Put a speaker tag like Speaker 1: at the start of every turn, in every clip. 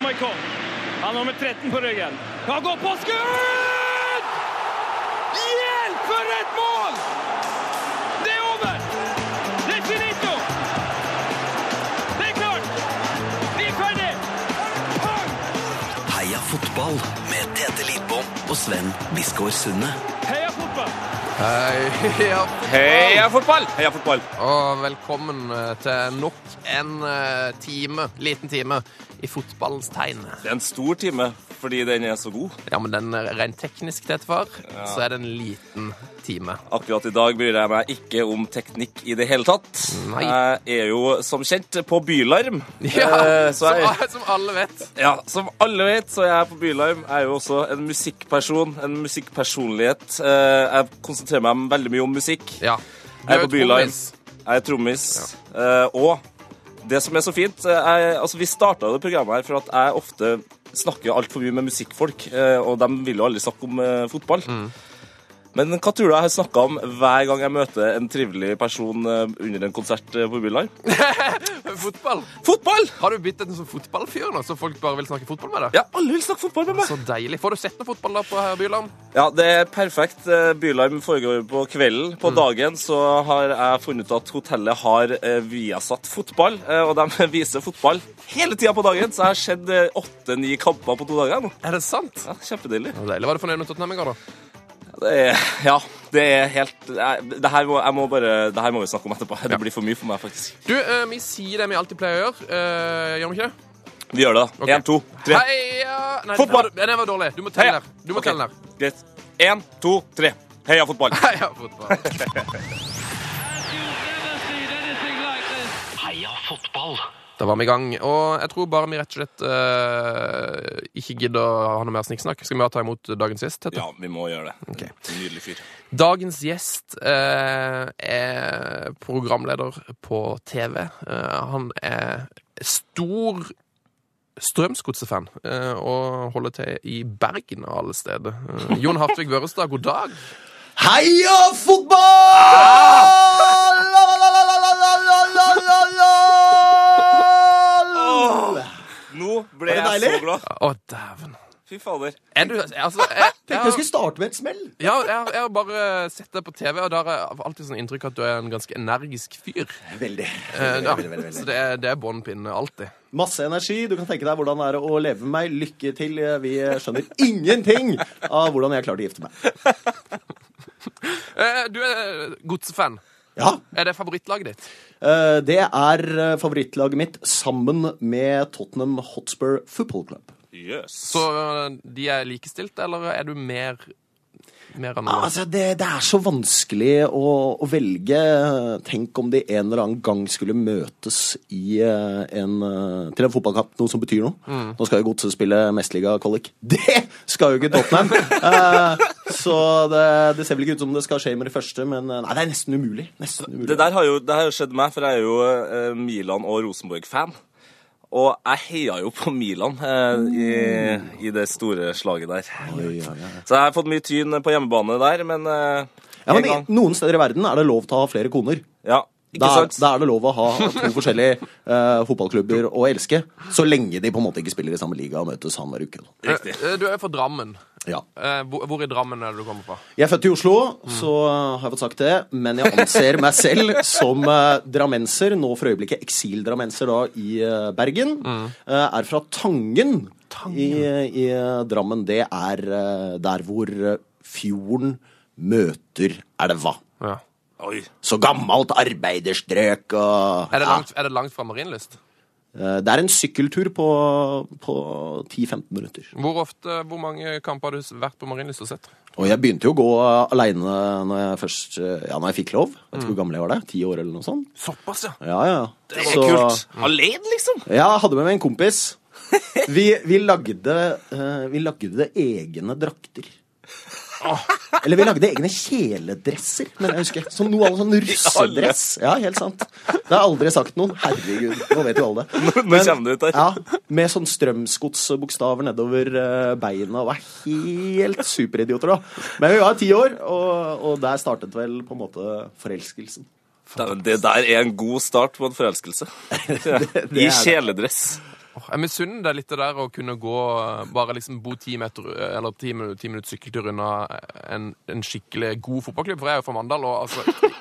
Speaker 1: Berkholm. Han har nummer 13 på ryggen. Han går på skudd! Hjelp for et mål! Det er over! Det er finito! Det er klart! Vi er ferdig!
Speaker 2: Heia fotball med Tete Lidbom og Sven Biskår Sunde.
Speaker 1: Heia fotball!
Speaker 3: Heia
Speaker 4: Heia fotball! Heia fotball!
Speaker 3: og velkommen eh, til nok en eh, time, liten time, i fotballens tegn.
Speaker 4: Det er en stor time, fordi den er så god.
Speaker 3: Ja, men den er rent teknisk til etterfor, så er det en liten time.
Speaker 4: Akkurat i dag bryr jeg meg ikke om teknikk i det hele tatt.
Speaker 3: Nei.
Speaker 4: Jeg er jo som kjent på bylarm. Eh,
Speaker 3: Ja,
Speaker 4: så
Speaker 3: som,
Speaker 4: jeg,
Speaker 3: som alle vet.
Speaker 4: ja, som alle vet, så er jeg på bylarm. Jeg er jo også en musikkperson, en musikkpersonlighet. Eh, Jeg konsentrerer meg veldig mye om musikk.
Speaker 3: Ja.
Speaker 4: Jeg er på
Speaker 3: Du jo
Speaker 4: Bylarm.
Speaker 3: trommis.
Speaker 4: Jeg er trommis. Eh, og det som er så fint eh, jeg, altså Vi starta det programmet her for at jeg ofte snakker altfor mye med musikkfolk, eh, og de vil jo aldri snakke om eh, fotball. Men hva tror du jeg har snakka om hver gang jeg møter en trivelig person eh, under en konsert eh, på Bylarm?
Speaker 3: Fotball.
Speaker 4: Fotball!
Speaker 3: Har du blitt en sånn fotballfyr nå, så folk bare vil snakke fotball med deg?
Speaker 4: Ja, alle vil snakke fotball med meg.
Speaker 3: Så deilig. Får du sett noe fotball da på eh, her, Bylarm?
Speaker 4: Ja, det er perfekt. Eh, Bylarm foregår på kvelden.
Speaker 3: Mm.
Speaker 4: På dagen så har jeg funnet ut at hotellet har eh, Viasat fotball, eh, og de viser fotball hele tida på dagen. Så jeg har sett eh, åtte-ni kamper på to dager nå.
Speaker 3: Er det sant?
Speaker 4: Ja, Kjempedeilig.
Speaker 3: Så deilig. Var du fornøyd med Tottenham i går, da?
Speaker 4: Det er, ja, det er helt jeg- Det her må, jeg må bare, det her må vi snakke om etterpå. Det blir for mye for meg, faktisk.
Speaker 3: Du, eh, vi sier det vi alltid pleier å gjøre. Eh, gjør vi ikke det?
Speaker 4: Vi gjør det, da. Én, to, tre.
Speaker 3: Heia Nei,
Speaker 4: Fotball!
Speaker 3: Den, den var dårlig. Du må
Speaker 4: Heia.
Speaker 3: telle der. Du må
Speaker 4: Ok,
Speaker 3: telle der.
Speaker 4: Greit. Én, to, tre. Heia fotball!
Speaker 3: Heia fotball.
Speaker 2: Heia fotball.
Speaker 3: Da var vi i gang. Og jeg tror bare vi rett og slett eh, ikke gidder å ha noe mer snikksnakk. Skal vi bare ta imot dagens gjest? Tete?
Speaker 4: Ja, vi må gjøre det.
Speaker 3: Ok.
Speaker 4: Nydelig fyr.
Speaker 3: Dagens gjest eh, er programleder på TV. Eh, han er stor Strømsgodset-fan eh, og holder til i Bergen av alle steder. Eh, Jon Hartvig Børrestad, god dag.
Speaker 5: Heia fotball! La, la, la, la, la, la, la, la, la, la.
Speaker 4: Nå ble jeg
Speaker 5: Var det
Speaker 4: så
Speaker 5: deilig?
Speaker 4: glad.
Speaker 3: Å, dæven.
Speaker 4: Fy fader.
Speaker 3: Er du Altså, jeg, jeg,
Speaker 5: Jeg skulle starte med et smell.
Speaker 3: Ja, jeg, har- jeg har bare sett deg på TV, og da har jeg alltid sånn inntrykk at du er en ganske energisk fyr.
Speaker 5: Veldig.
Speaker 3: Eh,
Speaker 5: Veldig,
Speaker 3: ja.
Speaker 5: veldig, veldig,
Speaker 3: Så
Speaker 5: veldig.
Speaker 3: det er, det er bånn pinne alltid.
Speaker 5: Masse energi. Du kan tenke deg hvordan det er å leve med meg. Lykke til. Eh, Vi skjønner ingenting av hvordan jeg klarte å gifte meg.
Speaker 3: Eh, du er godsfan.
Speaker 5: Ja,
Speaker 3: Er det favorittlaget ditt?
Speaker 5: eh, Det er eh, favorittlaget mitt sammen med Tottenham Hotspur Football Club.
Speaker 4: Jøss.
Speaker 3: Så eh, de er likestilt, eller er du mer Mer enn
Speaker 5: Ja,
Speaker 3: noe?
Speaker 5: Altså, det, det er så vanskelig å, å velge. Tenk om de en eller annen gang skulle møtes i eh, en, eh, til en fotballkamp, noe som betyr noe.
Speaker 4: Mm.
Speaker 5: Nå skal jo Godset spille mesterliga-kvalik. Det skal jo ikke Tottenham! Eh, så det, det ser vel ikke ut som det skal skje med det første, men eh, nei, det er nesten umulig. Nesten umulig.
Speaker 4: Det der har jo, det har jo skjedd meg, for jeg er jo eh, Milan- og Rosenborg-fan. Og jeg heia jo på Milan eh, i, i det store slaget der.
Speaker 5: Oi, ja, ja.
Speaker 4: Så jeg har fått mye tyn på hjemmebane der, men eh,
Speaker 5: Ja, men
Speaker 4: en
Speaker 5: i,
Speaker 4: gang.
Speaker 5: noen steder i verden er det lov til å ha flere koner.
Speaker 4: Ja,
Speaker 5: Da
Speaker 4: ikke
Speaker 5: er,
Speaker 4: sant?
Speaker 5: da er det lov å ha to forskjellige eh, fotballklubber å elske, så lenge de på en måte ikke spiller i samme liga og møtes annenhver uke. da.
Speaker 4: Riktig.
Speaker 3: Eh, eh, Du er fra Drammen.
Speaker 5: Ja.
Speaker 3: Eh, Hvor hvor i Drammen er det du kommer fra?
Speaker 5: Jeg er født i Oslo, så har jeg fått sagt det. Men jeg anser meg selv som eh, drammenser, nå for øyeblikket eksildrammenser da i eh, Bergen.
Speaker 3: Mm.
Speaker 5: Eh, er fra Tangen, I, i eh, Drammen. Det er eh, der hvor eh, fjorden møter elva.
Speaker 3: Ja.
Speaker 4: Oi.
Speaker 5: Så gammelt arbeiderstrøk og
Speaker 3: Er, det
Speaker 5: Ja.
Speaker 3: langt, er det langt fra Marienlyst?
Speaker 5: Eh, Det er en sykkeltur på, på 10-15 minutter.
Speaker 3: Hvor ofte, hvor mange kamper har du s- vært på Marienlyst og sett?
Speaker 5: Og jeg begynte jo å gå eh, aleine når jeg først eh, Ja, når jeg fikk lov. Jeg vet ikke hvor gammel jeg var da. Ti år eller noe sånt.
Speaker 3: Såpass, ja.
Speaker 5: Ja, ja.
Speaker 4: Det var kult. Alene, liksom.
Speaker 5: Ja, jeg hadde med meg en kompis. Vi, vi, lagde, eh, vi lagde egne drakter.
Speaker 4: Ah.
Speaker 5: Eller vi lagde egne kjeledresser, men jeg husker. Som noe av en sånn russedress. Ja, helt sant. Det har jeg aldri sagt noen. Herregud, nå vet jo alle det.
Speaker 4: Nå kommer det ut her.
Speaker 5: Ja, med sånn strømsgodsbokstaver nedover eh, beina og var helt superidioter, da. Men vi var ti år, og, og der startet vel på en måte forelskelsen.
Speaker 4: Det, det der er en god start på en forelskelse. I
Speaker 5: det.
Speaker 4: kjeledress.
Speaker 3: Åh, Jeg misunner deg litt det der å kunne gå eh, bare liksom bo ti, meter, eh, eller ti, minu- ti minutter sykkeltur unna eh, en, en skikkelig god fotballklubb, for jeg er jo fra Mandal, og altså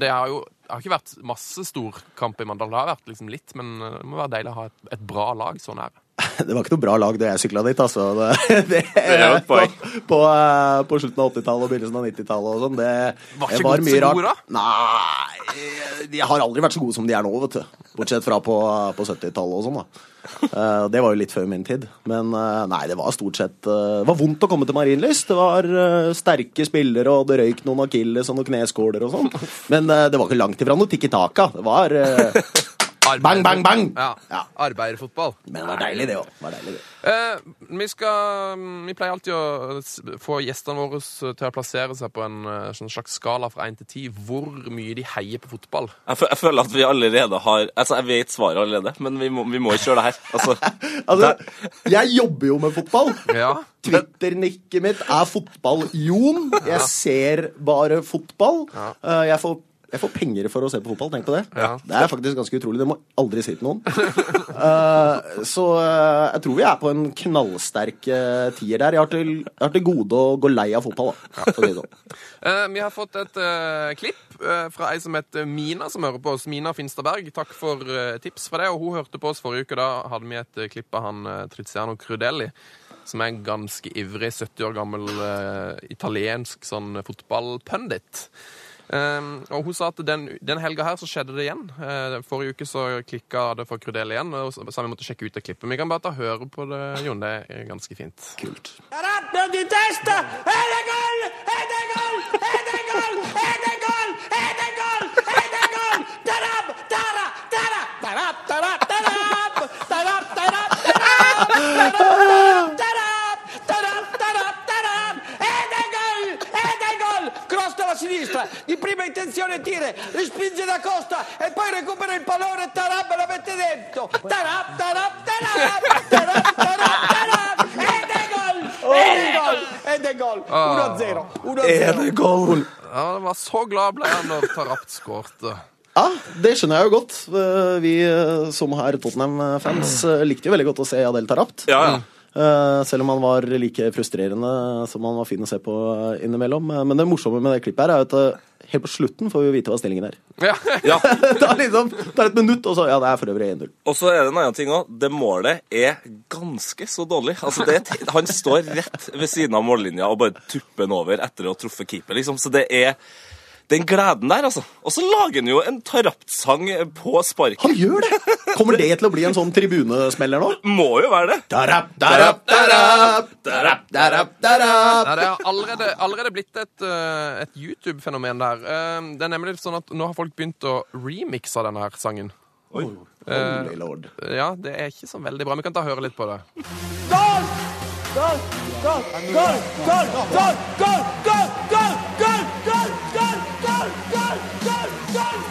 Speaker 3: Det har jo det har ikke vært masse storkamp i Mandal, det har vært liksom litt, men eh, det må være deilig å ha et, et bra lag sånn så nær.
Speaker 5: Det var ikke noe bra lag da jeg sykla dit, altså. Det, det,
Speaker 4: er jo et poeng.
Speaker 5: På, på, eh, på slutten av 80-tallet og begynnelsen av 90-tallet og sånn. Det
Speaker 3: Var
Speaker 5: det
Speaker 3: ikke Godset gode da?
Speaker 5: Nei, de har aldri vært så gode som de er nå, vet du. Bortsett fra på, på 70-tallet og sånn, da. Eh, Det var jo litt før min tid. Men eh, nei, det var stort sett eh, Det var vondt å komme til Marienlyst. Det var eh, sterke spillere, og det røyk noen akilles og noen kneskåler og sånn. Men eh, det var ikke langt ifra noe tikki taka. Det var eh, Bang, bang, bang!
Speaker 3: Ja.
Speaker 5: Ja.
Speaker 3: Arbeiderfotball.
Speaker 5: Men det var deilig, det òg. Det var deilig, det.
Speaker 3: Eh, vi, skal, mm, vi pleier alltid å s- få gjestene våre s- til å plassere seg på en eh, sånn slags skala fra 1 til 10 hvor mye de heier på fotball.
Speaker 4: Jeg, fø- jeg føler at vi allerede har Altså, jeg vet svaret allerede, men vi må, vi må kjøre det her. Altså,
Speaker 5: Altså, jeg jobber jo med fotball.
Speaker 3: Ja.
Speaker 5: Twitter-nikket mitt er fotball-Jon. Jeg ser bare fotball. Eh, Jeg får, jeg får penger for å se på fotball, tenk på det.
Speaker 3: Ja.
Speaker 5: Det er faktisk ganske utrolig. Det må jeg aldri si til noen. Eh, så eh, jeg tror vi er på en knallsterk eh, tier der. Jeg har til, jeg har til gode å gå lei av fotball, da. For å si det sånn.
Speaker 3: Eh, vi har fått et eh, klipp eh, fra ei som heter Mina, som hører på oss. Mina Finstadberg, takk for eh, tips fra deg. Og hun hørte på oss forrige uke. Da hadde vi et eh, klipp av han eh, Tiziano Crudelli, som er en ganske ivrig 70 år gammel eh, italiensk sånn fotballpundit. Um, og hun sa at den, den helga her så skjedde det igjen. Eh, forrige uke så klikka det for Crudelli igjen, og så sa vi måtte sjekke ut det klippet. Vi kan bare ta høre på det, Jon. Det er ganske fint. Kult.
Speaker 6: Ratto di testa! Ed è gol! Ed è gol! Ed è gol! Ed è gol! Ed è gol! Ed è gol! Tarab! Tara! Tara! Tarab! Tarab! Tarab! Tarab! Tarab! Tarab! Tarab! Tarab! Tarab! Tarab! Tarab! Ed è gol! Ed è gol! Cross dalla sinistra, di prima intenzione tire, respinge da Costa e poi recupera il pallone, Tarab la mette dentro! Tarab! Tarab! Tarab! Tarab! Tarab! Tarab! Ed è gol! Ed è gol! Ed è gol! 1-0, 1-0.
Speaker 5: Goal.
Speaker 3: Ja, det var så glad ble jeg når Tarapt skårte.
Speaker 5: Ja, det skjønner jeg jo godt. Eh, Vi eh, som er Tottenham-fans eh, likte jo veldig godt å se Adel Tarapt.
Speaker 4: ja, ja.
Speaker 5: Eh, Selv om han var like frustrerende som han var fin å se på eh, innimellom. Eh, Men det morsomme med det klippet her er jo at eh, helt på slutten får vi vite hva stillingen er.
Speaker 3: Ja.
Speaker 4: ja.
Speaker 5: det, er liksom, det er et minutt, og så Ja, det er for øvrig 1-0.
Speaker 4: Og så er det en annen ting òg. Det målet er ganske så dårlig. Altså, det er t han står rett ved siden av mållinja og bare tupper den over etter å ha truffet keeper, liksom. Så det er den gleden der, altså. Og så lager han jo en tarapt-sang på sparket.
Speaker 5: Han gjør det! Kommer det til å bli en sånn tribunesmeller nå?
Speaker 4: Må jo være det.
Speaker 5: Darap, darap, darap, darap, darap, darap.
Speaker 3: Nei, det har allerede, allerede blitt et, eh, et YouTube-fenomen der. Eh, Det er nemlig litt sånn at nå har folk begynt å remixe av denne her sangen.
Speaker 5: Holy lord.
Speaker 3: Eh, Ja, det er ikke så veldig bra. Vi kan ta og høre litt på det.
Speaker 6: Gol! Gol! Gol! Gol! Gol! Gol! Gol! Gol! Gol! Gol! Gol! Gol! Gol! Gol! Gol! Gol! Gol!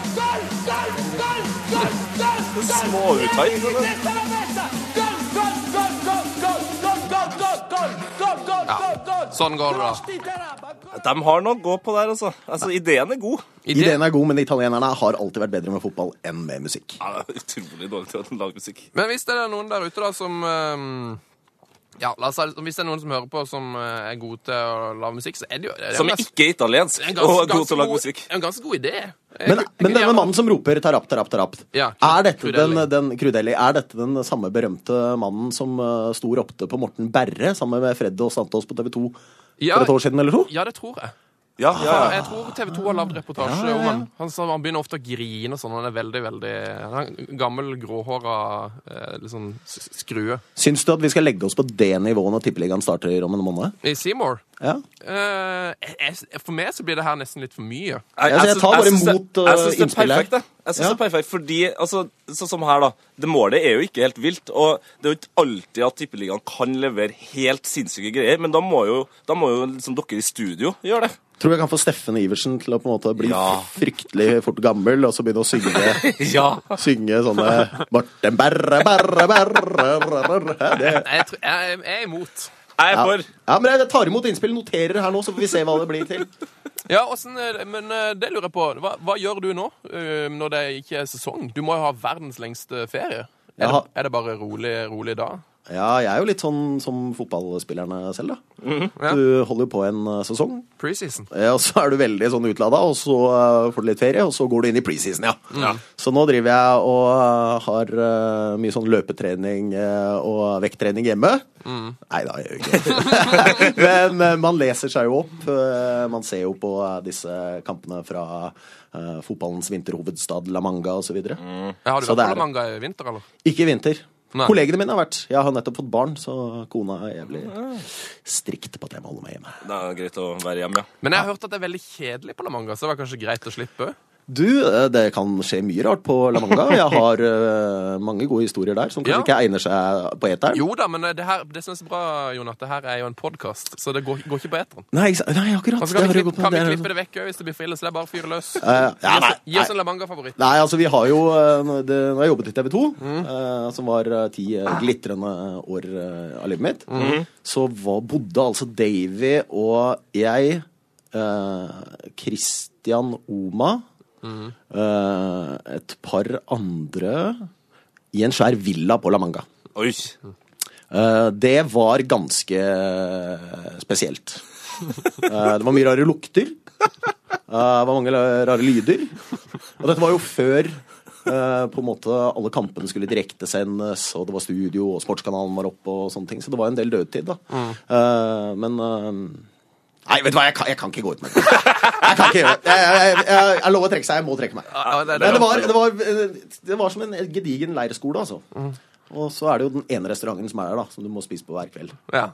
Speaker 6: Gol! Gol! Gol! Gol!
Speaker 4: Småuttak.
Speaker 6: Testa la testa! Gol! Gol! Gol! Gol! Gol! Gol! Gol! Gol! Gol! Gol! Gol! Gol! Gol!
Speaker 3: sånn går det da.
Speaker 6: Cross di Taraba, gol!
Speaker 4: De har noe å gå på der, altså. Altså, Ideen er god.
Speaker 5: Ideen er god, men italienerne har alltid vært bedre med fotball enn med musikk.
Speaker 4: Ja, det er utrolig dårlig til å lage musikk.
Speaker 3: Men hvis det er noen der ute da som eh, ja, la oss, si- Hvis det er noen som hører på som eh, er gode til å lage musikk, så er det jo det er jo
Speaker 4: Som
Speaker 3: en
Speaker 4: er
Speaker 3: ganske-
Speaker 4: ikke er italiensk
Speaker 3: en
Speaker 4: og
Speaker 3: ganske-
Speaker 4: er god til å lage
Speaker 3: ganske
Speaker 4: musikk.
Speaker 3: En ganske god idé. Jeg- jeg
Speaker 5: Men,
Speaker 3: kunne
Speaker 5: men denne
Speaker 3: gjerne-
Speaker 5: mannen som roper tarap, tarap, tarap,
Speaker 3: Eh, Ja,
Speaker 5: er, dette den,
Speaker 3: Crudelli.
Speaker 5: den, Crudelli, er dette den samme berømte mannen som eh, sto og ropte på Morten Berre sammen med Freddy og Santos på TV 2
Speaker 3: Ja.
Speaker 5: for et år siden eller to?
Speaker 3: Ja, det tror jeg.
Speaker 4: Ja, ja, ja.
Speaker 3: Jeg tror TV 2 har lagd reportasje om han. Han, sa, han begynner ofte å grine og sånn. Han er veldig, veldig han er en gammel, gråhåra eh, litt sånn s- skrue.
Speaker 5: Syns du at vi skal legge oss på det nivået når Tippeligaen starter om en måned?
Speaker 3: I Seymour
Speaker 5: Ja.
Speaker 3: eh, jeg, jeg- For meg så blir det her nesten litt for mye.
Speaker 4: Jeg,
Speaker 5: Altså, jeg
Speaker 4: syns-
Speaker 5: tar bare
Speaker 4: syns det-
Speaker 5: imot, uh,
Speaker 4: Jeg syns det er
Speaker 5: innspill her.
Speaker 4: perfekt, det. Jeg synes
Speaker 5: Ja.
Speaker 4: det er perfekt, fordi, altså, Sånn som her, da. Det målet er jo ikke helt vilt. Og det er jo ikke alltid at Tippeligaen kan levere helt sinnssyke greier, men da må jo, da må jo liksom dere i studio gjøre det.
Speaker 5: Tror jeg kan få Steffen Iversen til å på en måte bli
Speaker 4: Ja.
Speaker 5: fryktelig fort gammel og så begynne å synge,
Speaker 4: Ja.
Speaker 5: synge sånne Morten Berre, Berre, Berre rarararararararararararararararararararararararararararararararararararararararararor». det.
Speaker 3: Jeg, tror- jeg, jeg er imot.
Speaker 4: Jeg er
Speaker 5: Ja.
Speaker 4: for.
Speaker 5: ja, men jeg tar imot innspill, noterer her nå, så får vi se hva det blir til.
Speaker 3: Ja, åssen, eh, Men eh, det lurer jeg på. Hva, hva gjør du nå eh, når det ikke er sesong? Du må jo ha verdens lengste ferie. Er,
Speaker 5: Jeg har-
Speaker 3: det, er det bare rolig, rolig da?
Speaker 5: Ja, jeg er jo litt sånn som fotballspillerne selv, da.
Speaker 3: ja.
Speaker 5: Du holder jo på en eh, sesong,
Speaker 3: Preseason.
Speaker 5: Ja, og så er du veldig sånn utlada, og så eh, får du litt ferie, og så går du inn i preseason, ja. Så nå driver jeg og eh, har eh, mye sånn løpetrening eh, og vekttrening hjemme. Nei da, jeg gjør ikke det. Men eh, man leser seg jo opp. eh, man ser jo på eh, disse kampene fra eh, fotballens vinterhovedstad La Manga osv. videre
Speaker 3: Ja, har du
Speaker 5: Så
Speaker 3: vært
Speaker 5: det
Speaker 3: på
Speaker 5: er-
Speaker 3: La Manga i vinter, eller?
Speaker 5: Ikke i vinter.
Speaker 3: Nei.
Speaker 5: Kollegene mine har vært. Jeg har nettopp fått barn, så kona er jævlig strikt på at jeg må holde meg hjemme.
Speaker 4: Det er greit å være hjemme, ja.
Speaker 3: Men jeg har hørt at det er veldig kjedelig på La Manga, så det var kanskje greit å slippe?
Speaker 5: Du, eh, det kan skje mye rart på La Manga. Jeg har eh, mange gode historier der som kanskje
Speaker 3: Ja.
Speaker 5: ikke egner seg på eteren.
Speaker 3: Jo da, men eh, det, her, det synes jeg er bra, Jon, at det her er jo en podkast, så det går, går ikke på eteren.
Speaker 5: Nei, ikke sant? nei, akkurat.
Speaker 3: Og så kan, vi
Speaker 5: det har du
Speaker 3: klippe,
Speaker 5: godt
Speaker 3: kan vi
Speaker 5: poeng. Det er-
Speaker 3: klippe det vekk òg, hvis det blir for ille. Så det er bare å fyre løs.
Speaker 5: Eh, ja,
Speaker 3: Gi
Speaker 5: nei,
Speaker 3: oss- Gi oss
Speaker 5: nei.
Speaker 3: en La Manga-favoritt.
Speaker 5: Nei, altså vi har jo eh, det, Når jeg jobbet i TV 2, som var eh, ti eh, glitrende år eh, av livet mitt, så var, bodde altså Davy og jeg, eh, Christian Oma, eh, et par andre i en svær villa på La Manga.
Speaker 4: Oi.
Speaker 5: Eh, det var ganske spesielt. Eh, det var mye rare lukter. Eh, det var mange rare lyder. Og dette var jo før eh, på en måte alle kampene skulle direktesendes, og det var studio, og Sportskanalen var oppe, og sånne ting. Så det var en del dødtid, da. Eh, men eh, Nei, vet du hva, jeg kan, jeg kan ikke gå ut med det. Jeg kan ikke gjøre det. Jeg, jeg, jeg, jeg, jeg lover å trekke seg. Jeg må trekke meg.
Speaker 3: Ja, det er
Speaker 5: Men det
Speaker 3: det.
Speaker 5: var, det var, det var som en gedigen leirskole, altså.
Speaker 3: Mhm.
Speaker 5: Og så er det jo den ene restauranten som er der, da, som du må spise på hver kveld.
Speaker 3: Ja.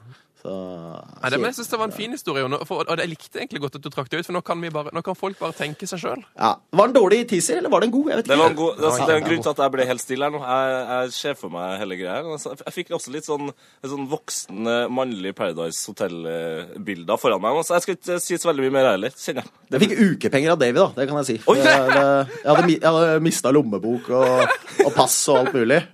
Speaker 5: Så
Speaker 3: Nei, det, men jeg synes det var en fin historie, Jon, og for- og jeg likte egentlig godt at du trakk det ut, for nå kan, vi bare, nå kan folk bare tenke seg sjøl.
Speaker 5: ja. Var den dårlig teaser, eller var den god? Jeg vet
Speaker 4: Det
Speaker 5: ikke.
Speaker 4: var en god,
Speaker 3: Ja,
Speaker 4: altså, det, det er
Speaker 3: det
Speaker 4: en
Speaker 3: er
Speaker 4: grunn til at jeg ble helt stille her nå. Jeg, jeg ser for meg hele greia. her. Altså, Jeg fikk også litt sånn, en sånn voksen, eh, mannlig Paradise Hotel-bilder foran meg. Altså, jeg skal ikke si så veldig mye mer heller, kjenner jeg.
Speaker 5: Jeg fikk ukepenger av Davy, da. Det kan jeg si. For
Speaker 4: Oi!
Speaker 5: det, det, jeg hadde, mi- jeg hadde mista lommebok og, og pass og alt mulig.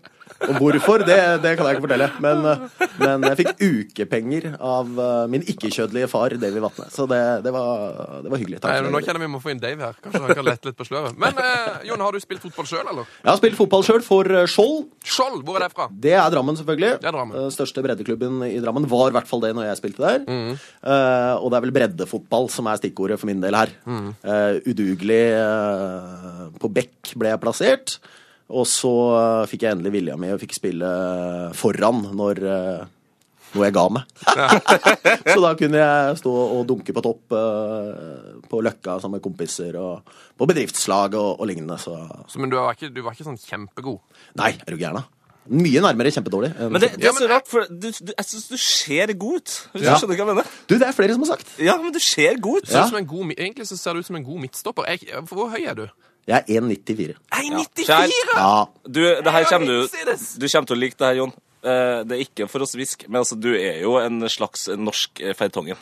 Speaker 5: Og hvorfor, det, det kan jeg ikke fortelle. Men, eh, men jeg fikk ukepenger av eh, min ikke-kjødelige far, Davy Vatne. Så det, det, var, det var hyggelig. Takk.
Speaker 3: Nei,
Speaker 5: for
Speaker 3: men
Speaker 5: det,
Speaker 3: Nå
Speaker 5: Davy.
Speaker 3: kjenner jeg vi må få inn Dave her. Kanskje han kan lette litt på sløret. Men eh, Jon, har du spilt fotball sjøl, eller?
Speaker 5: Jeg har spilt fotball sjøl for eh, Skjold.
Speaker 3: Skjold, hvor er det fra?
Speaker 5: Det er Drammen, selvfølgelig.
Speaker 3: Det er Drammen.
Speaker 5: Eh, Største breddeklubben i Drammen var i hvert fall det når jeg spilte der.
Speaker 3: Mm.
Speaker 5: Eh, og det er vel breddefotball som er stikkordet for min del her.
Speaker 3: Mm.
Speaker 5: Eh, udugelig eh, på bekk ble jeg plassert. Og så eh, fikk jeg endelig vilja mi og fikk spille foran når, eh, når jeg ga meg. så da kunne jeg stå og dunke på topp eh, på Løkka sammen med kompiser og på bedriftslag og, og lignende. Så
Speaker 3: Så, men du var, ikke, du var ikke sånn kjempegod.
Speaker 5: nei, er du gæren, da? Mye nærmere kjempedårlig. enn
Speaker 4: Men det, det
Speaker 3: Ja,
Speaker 4: er
Speaker 3: men
Speaker 4: så rart, for du, du, jeg syns du ser god ut. Hvis
Speaker 5: Ja.
Speaker 4: du skjønner hva jeg mener?
Speaker 5: Du, det er flere som har sagt.
Speaker 4: Ja, men du ser god ut.
Speaker 3: Ser
Speaker 5: Ja.
Speaker 3: ut som en god, mi- egentlig så ser du ut som en god midtstopper. Jeg, hvor høy er du?
Speaker 5: Jeg er 1,94.
Speaker 3: Nei,
Speaker 4: Kjær.
Speaker 3: 94!
Speaker 5: Ja.
Speaker 4: Du, det her kommer du,
Speaker 3: Midtsides.
Speaker 4: du kommer til å like det her, Jon. Eh, det er ikke for å sviske, men altså, du er jo en slags norsk eh, Feitongen.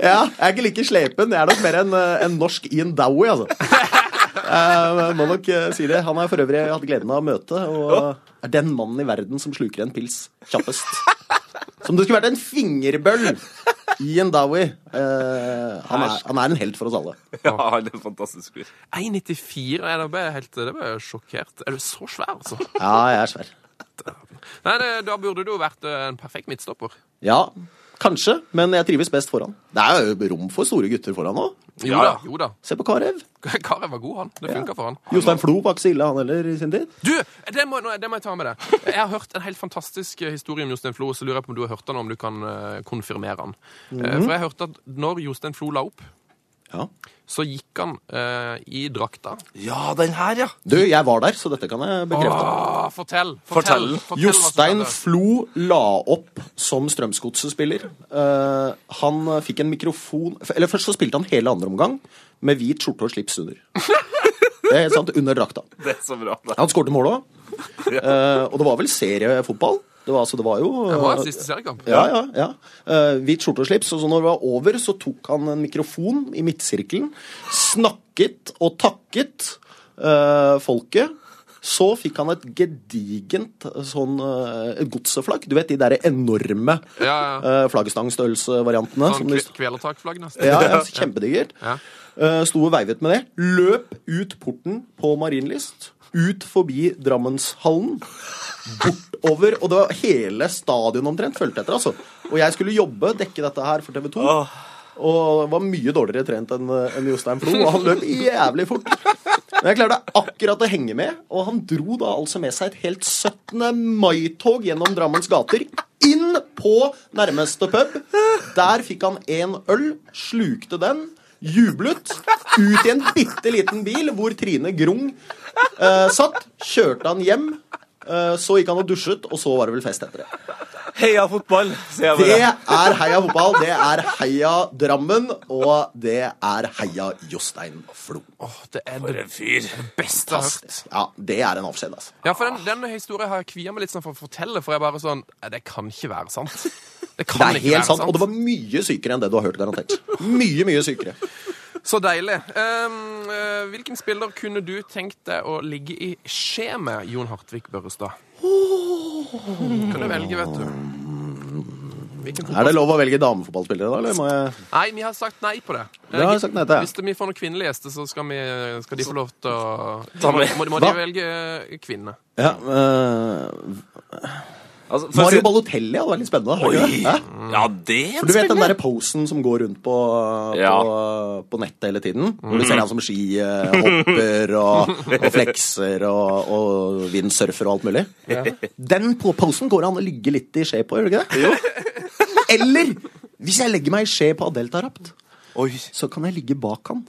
Speaker 5: ja. Jeg er ikke like slepen. Jeg er nok mer en, eh, en norsk Ian Dowie, altså. Jeg må nok eh, si det. Han har jeg for øvrig hatt gleden av å møte, og er den mannen i verden som sluker en pils kjappest. Som det skulle vært en fingerbøll! Ian Dowie. Eh, han, er, han er en helt for oss alle.
Speaker 4: Ja, han er fantastisk fyr.
Speaker 3: 1,94? Nei, da ble jeg helt da ble jeg sjokkert. Er du så svær, altså?
Speaker 5: Ja, jeg er svær.
Speaker 3: Nei, det, Da burde du jo vært eh, en perfekt midtstopper.
Speaker 5: Ja, kanskje, men jeg trives best foran. Det er jo rom for store gutter foran òg.
Speaker 3: Jo
Speaker 4: Ja,
Speaker 3: da.
Speaker 4: ja.
Speaker 3: jo da.
Speaker 5: Se på Karev.
Speaker 3: Karev var god, han. Det funka for han.
Speaker 5: Jostein Flo var ikke så ille, han heller, i sin tid.
Speaker 3: Du, det må, nå- det må jeg ta med deg. Jeg har hørt en helt fantastisk eh, historie om Jostein Flo, så lurer jeg på om du har hørt den, og om du kan eh, konfirmere den. Eh, For jeg hørte at når Jostein Flo la opp,
Speaker 5: Ja.
Speaker 3: så gikk han eh, i drakta.
Speaker 4: Ja, den her, ja.
Speaker 5: Du, jeg var der, så dette kan jeg bekrefte.
Speaker 3: Åh, fortell!
Speaker 4: Ah, Fortell.
Speaker 3: hva som
Speaker 5: Jostein
Speaker 3: skjedde.
Speaker 5: Flo la opp som Strømsgodset-spiller. Eh, han eh, fikk en mikrofon f- Eller først så spilte han hele andre omgang med hvit skjorte og slips under. Det er helt sant, Under drakta.
Speaker 4: Det er så bra. Det.
Speaker 5: Han skårte mål òg. og det var vel seriefotball? Det var, altså, det var jo
Speaker 3: Det var
Speaker 5: eh,
Speaker 3: hans siste seriekamp.
Speaker 5: ja, ja, ja. Eh, hvit skjorte og slips. Og så når det var over, så tok han en mikrofon i midtsirkelen, snakket og takket eh, folket. Så fikk han et gedigent eh, sånn eh, godseflagg. Du vet de derre enorme
Speaker 3: Ja,
Speaker 5: eh, flaggstangstørrelsevariantene.
Speaker 3: Sånn
Speaker 5: som de-
Speaker 3: kve- kvelertakflagg, nesten.
Speaker 5: ja, ja, så kjempedigert.
Speaker 3: Ja.
Speaker 5: Eh, Sto og veivet med det. Løp ut porten på Marienlyst. ut forbi Drammenshallen, bortover Og det var hele stadion omtrent fulgte etter, altså. Og jeg skulle jobbe, dekke dette her for TV 2. Og var mye dårligere trent enn enn Jostein Flo, og han løp jævlig fort. Men jeg klarte akkurat å henge med, og han dro da altså med seg et helt 17. mai-tog gjennom Drammens gater. Inn på nærmeste pub. Der fikk han én øl, slukte den, jublet. Ut i en bitte liten bil hvor Trine Grung eh, satt. Kjørte han hjem. eh, så gikk han og dusjet, og så var det vel fest etter det.
Speaker 4: Heia fotball, sier jeg
Speaker 5: Det
Speaker 4: bare.
Speaker 5: er heia fotball, det er heia Drammen, og det er heia Jostein Flo.
Speaker 3: Åh, det er
Speaker 4: For
Speaker 3: det
Speaker 4: en fyr.
Speaker 3: beste jeg har hørt.
Speaker 5: Ja, det er en avskjed, altså.
Speaker 3: Ja, for den, den historien har jeg kvia meg litt sånn for å fortelle, for jeg bare sånn Nei, det kan ikke være sant. Det
Speaker 5: Det
Speaker 3: kan ikke
Speaker 5: er
Speaker 3: være
Speaker 5: helt sant,
Speaker 3: sant.
Speaker 5: og det var mye sykere enn det du har hørt, garantert. Mye, mye sykere.
Speaker 3: Så deilig. Um, eh, hvilken spiller kunne du tenkt deg å ligge i skje med, Jon Hartvig Børrestad?
Speaker 5: Oh.
Speaker 3: Kan du velge, vet du. Hvilken
Speaker 5: Er
Speaker 3: fotball...
Speaker 5: det lov å velge damefotballspillere, da? Eller må jeg
Speaker 3: Nei, vi har sagt nei på det.
Speaker 5: Det har vi sagt nei til, ja.
Speaker 3: Hvis det- vi får noen kvinnelige gjester, så skal, vi, skal de få lov til å
Speaker 4: Ta
Speaker 3: Må,
Speaker 4: med.
Speaker 3: må, må de
Speaker 5: Hva?
Speaker 3: velge eh, kvinne?
Speaker 5: ja, øh,
Speaker 4: Altså, for å si-
Speaker 5: Mario Balotelli hadde vært litt spennende. hadde ikke det? Hæ?
Speaker 4: Ja, det er
Speaker 5: For du vet den derre posen som går rundt på, på,
Speaker 4: Ja.
Speaker 5: på nettet hele tiden? Hvor du ser han som skihopper og, og flekser og, og windsurfer og alt mulig. Den på posen går an å ligge litt i skje på, gjør det ikke det? Eller hvis jeg legger meg i skje på Adel Tarapt,
Speaker 4: Oi.
Speaker 5: så kan jeg ligge bak han.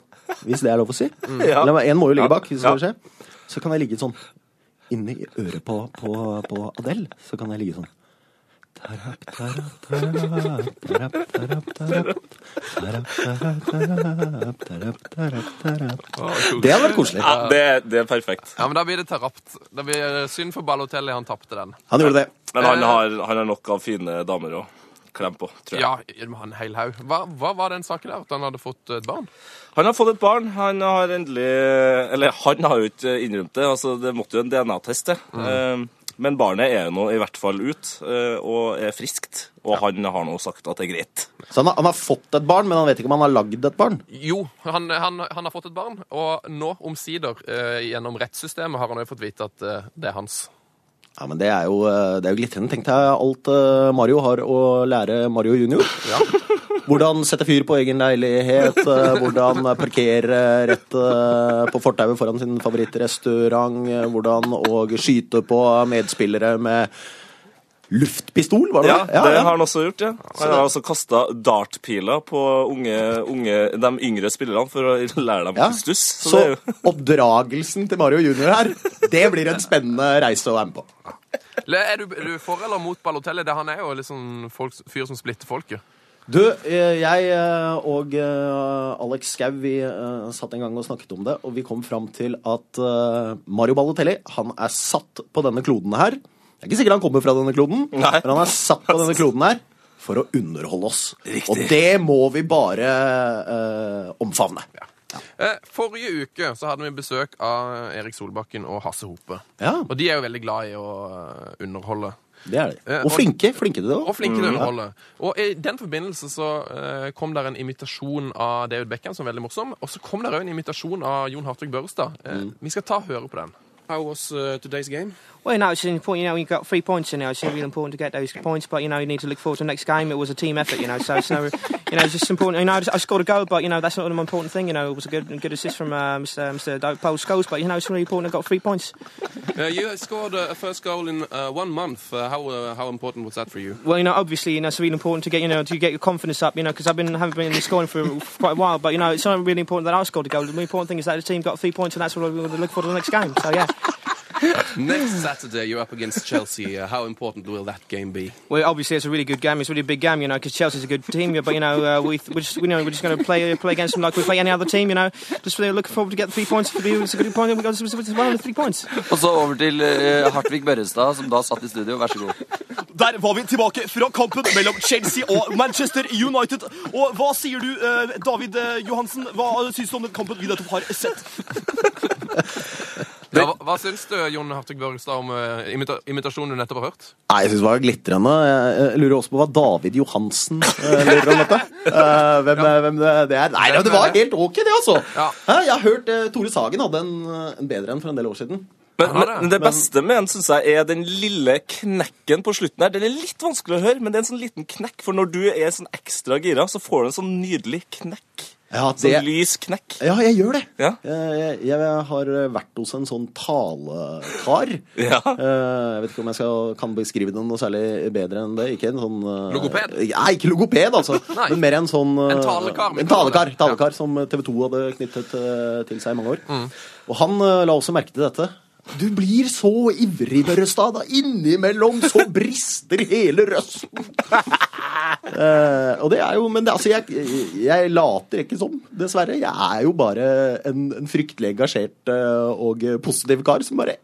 Speaker 5: Hvis det er lov å si.
Speaker 4: Ja.
Speaker 5: Eller En må jo ligge
Speaker 4: Ja.
Speaker 5: bak. Hvis det skal skje. Så kan jeg ligge sånn inni øret på, på, på Adel. Så kan jeg ligge sånn. Tarap, tarap, tarap, tarap, tarap, tarap. Tarap, tarap, tarap, tarap, tarap, tarap. Det hadde vært koselig.
Speaker 4: Ja, det, det er perfekt.
Speaker 3: Ja, men da blir det terapt. Da blir det synd for Balotelli, han tapte den.
Speaker 5: Han gjorde det.
Speaker 4: Men han har, han har nok av fine damer å klemme på, tror jeg.
Speaker 3: Ja, han hel haug. Hva, hva var den saken der? At han hadde fått et barn?
Speaker 4: Han har fått et barn. Han har endelig Eller han har jo ikke innrømt det. Altså, det måtte jo en DNA-test til. Eh, Men barnet er jo nå i hvert fall ut, eh, og er friskt. Og han har nå sagt at det er greit.
Speaker 5: Så han har, han har fått et barn, men han vet ikke om han har lagd et barn.
Speaker 3: Jo, han, han, han har fått et barn, og nå, omsider, eh, gjennom rettssystemet, har han jo fått vite at eh, det er hans.
Speaker 5: Ja, men Det er jo, eh, det er jo glitrende. Tenk deg alt eh, Mario har å lære Mario junior. Hvordan sette fyr på egen leilighet, eh, hvordan parkere rett eh, på fortauet foran sin favorittrestaurant, eh, hvordan å skyte på medspillere med luftpistol, var det
Speaker 4: Ja,
Speaker 5: det?
Speaker 4: det har han også gjort, ja. Han har altså kasta dartpiler på unge, unge, de yngre spillerne for å lære dem
Speaker 5: Ja.
Speaker 4: kustus. Så,
Speaker 5: Så
Speaker 4: det er jo
Speaker 5: oppdragelsen til Mario junior her, det blir en spennende reise å være med på.
Speaker 3: Le- Er du, er du for eller mot Balotelli? Det, han er jo liksom folk, fyr som splitter folket.
Speaker 5: Du, eh, jeg eh, og eh, Alex Skau vi eh, satt en gang og snakket om det, og vi kom fram til at eh, Mario Balotelli han er satt på denne kloden her. Det er ikke sikkert han kommer fra denne kloden,
Speaker 4: Nei.
Speaker 5: men han er satt på denne kloden her for å underholde oss.
Speaker 4: Riktig.
Speaker 5: Og det må vi bare eh, omfavne.
Speaker 3: Eh, forrige uke så hadde vi besøk av Erik Solbakken og Hasse Hope.
Speaker 5: Ja.
Speaker 3: Og de er jo veldig glad i å eh, underholde.
Speaker 5: Det er det.
Speaker 3: Eh,
Speaker 5: Og
Speaker 3: og-
Speaker 5: flinke. Flinke til det Mm.
Speaker 3: Og
Speaker 5: òg.
Speaker 3: flinke til å underholde. Og i den forbindelse så eh, kom der en imitasjon av David Beckham som er veldig morsom. Og så kom der òg en imitasjon av Jon Hartvig Børrestad. Eh, Vi skal ta og høre på den. How was eh, today's game?
Speaker 7: Well, you know, it's important. You know, you got three points in there. It's really important to get those points, but you know, you need to look forward to the next game. It was a team effort, you know, so it's no, you know, it's just important. You know, I just- I scored a goal, but you know, that's not the most important thing. You know, it was a good, good assist from uh, Mr. Mr. Do- Paul Scholes, but you know, it's really important. I got three points.
Speaker 3: Uh, you scored a first goal in uh, one month. how, important was that for you?
Speaker 7: Well, you know, obviously, you know, it's really important to get, you know, to get your confidence up, you know, because I've been haven't been scoring for quite a while, but you know, it's not really important that I scored a goal. The important thing is that the team got three points, and that's what we were looking for to the next game. So yeah.
Speaker 3: Next Saturday you're up against Chelsea. Uh, how important will that game be?
Speaker 7: Well, obviously it's a really good game. It's a really big game, you know, because Chelsea's a good team. yeah, But you know, uh, we we're just we know we're just going to play uh, play against them like we play any other team. You know, just really looking forward to get the three points. For the, it's a good point. We got it's one of the three points.
Speaker 8: Og så over til eh, Hartvig Børrestad, som da satt i studio. Vær så god.
Speaker 9: Der var vi tilbake fra kampen mellom Chelsea og Manchester United. Og hva sier du, eh, David eh, Johansen? Hva syns du om den kampen vi nettopp har sett?
Speaker 3: Ja, hva, hva syns du, Jon Hartvig Børrestad, om eh, imita imitasjonen du nettopp har hørt?
Speaker 5: Nei, jeg syns det var glitrende. Jeg jeg lurer også på hva David Johansen eh, lurer om dette. Eh, Hvem, eh, hvem det det er. Nei, det var helt ok, det, altså.
Speaker 3: Ja.
Speaker 5: Hæ? Jeg har hørt eh, Tore Sagen hadde en, eh, en bedre en for en del år siden.
Speaker 4: Men,
Speaker 3: har det,
Speaker 4: men det
Speaker 3: men-
Speaker 4: beste med den, syns jeg, er den lille knekken på slutten her. Den er litt vanskelig å høre, men det er en sånn liten knekk. For når du er sånn ekstra gira, så får du en sånn nydelig knekk.
Speaker 5: Ja,
Speaker 4: Sånn
Speaker 5: det,
Speaker 4: lys knekk.
Speaker 5: ja jeg gjør det.
Speaker 4: Ja.
Speaker 5: Jeg, jeg, jeg har vært hos en sånn talekar.
Speaker 4: Ja.
Speaker 5: Eh, Jeg vet ikke om jeg skal, kan beskrive den noe særlig bedre enn det. Ikke en sånn eh,
Speaker 3: Logoped?
Speaker 5: Nei, ikke logoped, altså.
Speaker 3: Nei.
Speaker 5: Men mer en sånn eh,
Speaker 3: En talekar med
Speaker 5: En talekar,
Speaker 3: tale.
Speaker 5: talekar som TV 2 hadde knyttet eh, til seg i mange år.
Speaker 3: Mm.
Speaker 5: Og han eh, la også merke til dette. Du blir så ivrig, Børrestad. da. Innimellom så brister hele røsten. Eh, og det er jo Men det, altså, jeg, jeg later ikke som, dessverre. Jeg er jo bare en, en fryktelig engasjert eh, og positiv kar som bare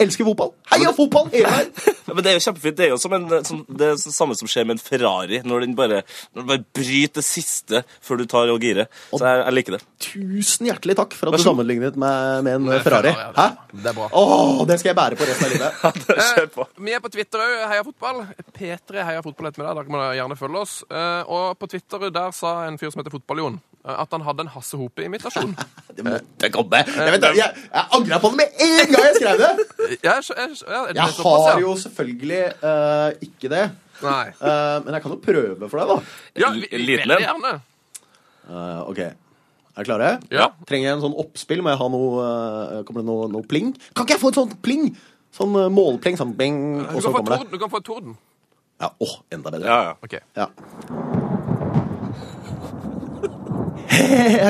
Speaker 5: elsker fotball. Heia fotball hele veien!
Speaker 4: Ja, men det er jo kjempefint. Det er jo som en, eh, som, det er det samme som skjer med en Ferrari, når den bare, når den bare bryter det siste før du tar og girer. Så jeg, jeg liker det.
Speaker 5: Tusen hjertelig takk for at
Speaker 4: Vær
Speaker 5: du
Speaker 4: så god.
Speaker 5: sammenlignet meg med en
Speaker 3: Med
Speaker 5: Ferrari.
Speaker 3: Ferrari,
Speaker 5: Hæ?
Speaker 3: ja. Det er bra.
Speaker 5: Åh, det skal jeg bære på resten av livet.
Speaker 4: Kjør på.
Speaker 3: Eh, Vi er på Twitter òg, Heia Fotball. P3 Heia Fotball heter vi der. Dere må gjerne følge oss. Eh, Og på Twitter der sa en fyr som heter Fotball-Jon, eh, at han hadde en Hasse Hope-imitasjon.
Speaker 5: Det måtte komme. Jeg, vet, jeg, jeg angra på det med en gang jeg skrev det!
Speaker 3: Ja, jeg skj- jeg skj- ja, er det
Speaker 5: Jeg
Speaker 3: såpass, ja?
Speaker 5: har jo selvfølgelig eh, ikke det.
Speaker 3: Nei.
Speaker 5: Eh, men jeg kan jo prøve for deg, da.
Speaker 3: Ja, vi-
Speaker 4: En liten
Speaker 3: veldig
Speaker 4: en.
Speaker 3: gjerne.
Speaker 5: Eh, OK. Er dere klare?
Speaker 3: Ja.
Speaker 5: Trenger jeg en sånn oppspill? Må jeg ha noe eh, Kommer det noe, noe pling? Kan ikke jeg få et sånt pling? Sånn eh, målpling, sånn pling,
Speaker 3: Du
Speaker 5: og
Speaker 3: kan
Speaker 5: så
Speaker 3: få
Speaker 5: kommer det.
Speaker 3: torden. Du kan få torden.
Speaker 5: Ja, åh, enda bedre.
Speaker 4: Ja, ja.
Speaker 3: Ok.
Speaker 5: Ja.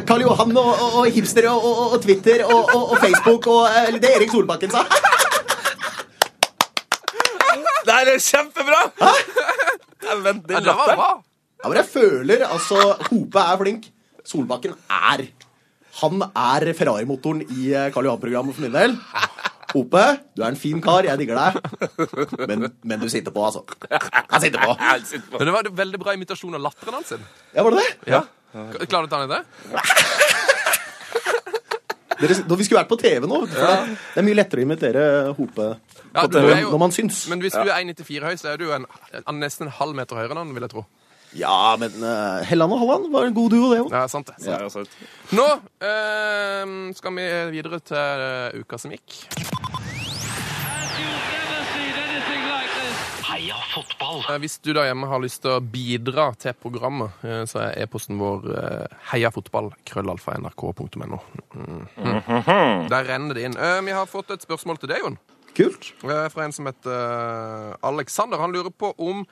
Speaker 5: Karl Johan og, og, og hipstere og, og, og Twitter og, og, og Facebook og eh, det Erik Solbakken sa.
Speaker 4: Nei, det er kjempebra! Dæven,
Speaker 3: Ja,
Speaker 4: den
Speaker 3: det var
Speaker 4: latteren.
Speaker 3: bra.
Speaker 5: Ja, men jeg føler altså Hope er flink. Solbakken er Han er Ferrari-motoren i eh, Karl Johan-programmet for min del. Hope, du er en fin kar. Jeg digger deg. Men, men du sitter på, altså. Jeg sitter på.
Speaker 4: Ja, den sitter på.
Speaker 3: Men det var en veldig bra imitasjon av latteren hans. sin.
Speaker 5: Ja, var det det?
Speaker 3: Ja. K- Klarer du å ta den i det?
Speaker 5: Dere, da vi skulle vært på TV nå. For det, det er mye lettere å invitere Hope
Speaker 3: Ja,
Speaker 5: på
Speaker 3: du-
Speaker 5: TV
Speaker 3: du er jo-
Speaker 5: når man syns.
Speaker 3: Men hvis du er 1,94 høy, så er du jo en, en, nesten en halv meter høyere enn han, vil jeg tro.
Speaker 5: Ja, men eh, Helland og Halland var en god duo, det òg.
Speaker 3: Ja, sant det.
Speaker 4: Ja, altså. ja, sant.
Speaker 3: Nå eh, skal vi videre til eh, uka som gikk. Eh, Hvis du der hjemme har lyst til å bidra til programmet, eh, så er e-posten vår eh, heiafotballkrøllalfa.nrk.no. Mm. Der renner det inn. Eh, Vi har fått et spørsmål til deg, Jon.
Speaker 5: Kult.
Speaker 3: Eh, Fra en som heter eh, Alexander. Han lurer på om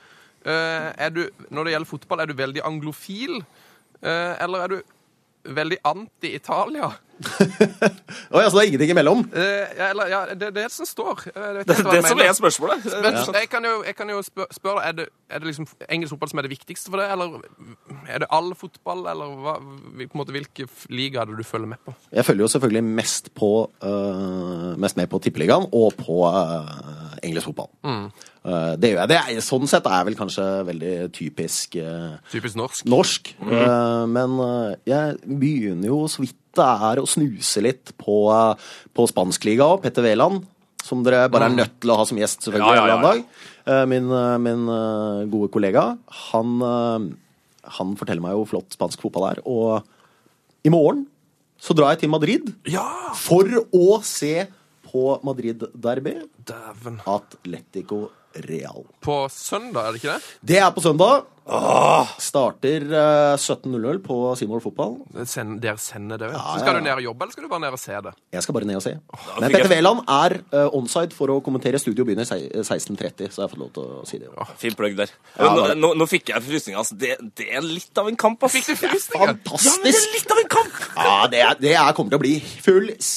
Speaker 3: eh, er du, Når det gjelder fotball, er du veldig anglofil? eh, Eller er du veldig anti-Italia?
Speaker 5: Oi, altså det er ingenting imellom?
Speaker 3: Eh, ja, Eller ja, det det er det som står. Eh, Jeg vet
Speaker 4: Det
Speaker 3: ikke hva
Speaker 4: det
Speaker 3: han
Speaker 4: som
Speaker 3: mener.
Speaker 4: er spørsmålet.
Speaker 3: Men jeg kan jo, jeg kan jo spør- spørre deg, er det, er det liksom engelsk fotball som er det viktigste for deg, eller er det all fotball, eller hva, på en måte, hvilke f- liga er det du følger med på?
Speaker 5: Jeg følger jo selvfølgelig mest, på, øh, mest med på Tippeligaen og på øh, engelsk fotball. Øh, det gjør jeg. Det er, sånn sett er jeg vel kanskje veldig typisk øh,
Speaker 3: Typisk norsk.
Speaker 5: norsk.
Speaker 4: Mhm.
Speaker 5: Øh, men øh, jeg begynner jo så vidt det er å snuse litt på, uh, på spanskliga òg. Petter Wæland. Som dere bare er nødt til å ha som gjest,
Speaker 4: Ja, ja,
Speaker 5: selvfølgelig.
Speaker 4: ja,
Speaker 5: en eller annen dag. Eh, Min, øh, min øh, gode kollega, han, øh, han forteller meg jo hvor flott spansk fotball er. Og i morgen så drar jeg til Madrid
Speaker 3: Ja!
Speaker 5: for å se på Madrid-derby
Speaker 3: Dæven.
Speaker 5: Atletico Real.
Speaker 3: På søndag, er det ikke det?
Speaker 5: Det er på søndag. Starter eh, 17.00 på Seymour Fotball.
Speaker 3: Det send- Dere sender det, vet du.
Speaker 5: Ja,
Speaker 3: Så
Speaker 5: ja,
Speaker 3: skal
Speaker 5: ja.
Speaker 3: du ned og jobbe, eller skal du bare ned og se det?
Speaker 5: Jeg skal bare ned og se.
Speaker 4: da
Speaker 5: Men
Speaker 4: fikk jeg-
Speaker 5: Petter Wæland er eh, onside for å kommentere. Studio begynner sei- 16.30, så jeg har fått lov til å si det.
Speaker 4: Fin plugg der.
Speaker 5: Ja,
Speaker 4: nå,
Speaker 5: det var det.
Speaker 4: nå, nå fikk jeg frysninger. Altså. Det, det er litt av en kamp, ass.
Speaker 3: Fikk du frysninger?
Speaker 4: Ja, men det er
Speaker 5: Fantastisk!
Speaker 4: litt av en kamp!
Speaker 5: Ja, det, er, det er, kommer til å bli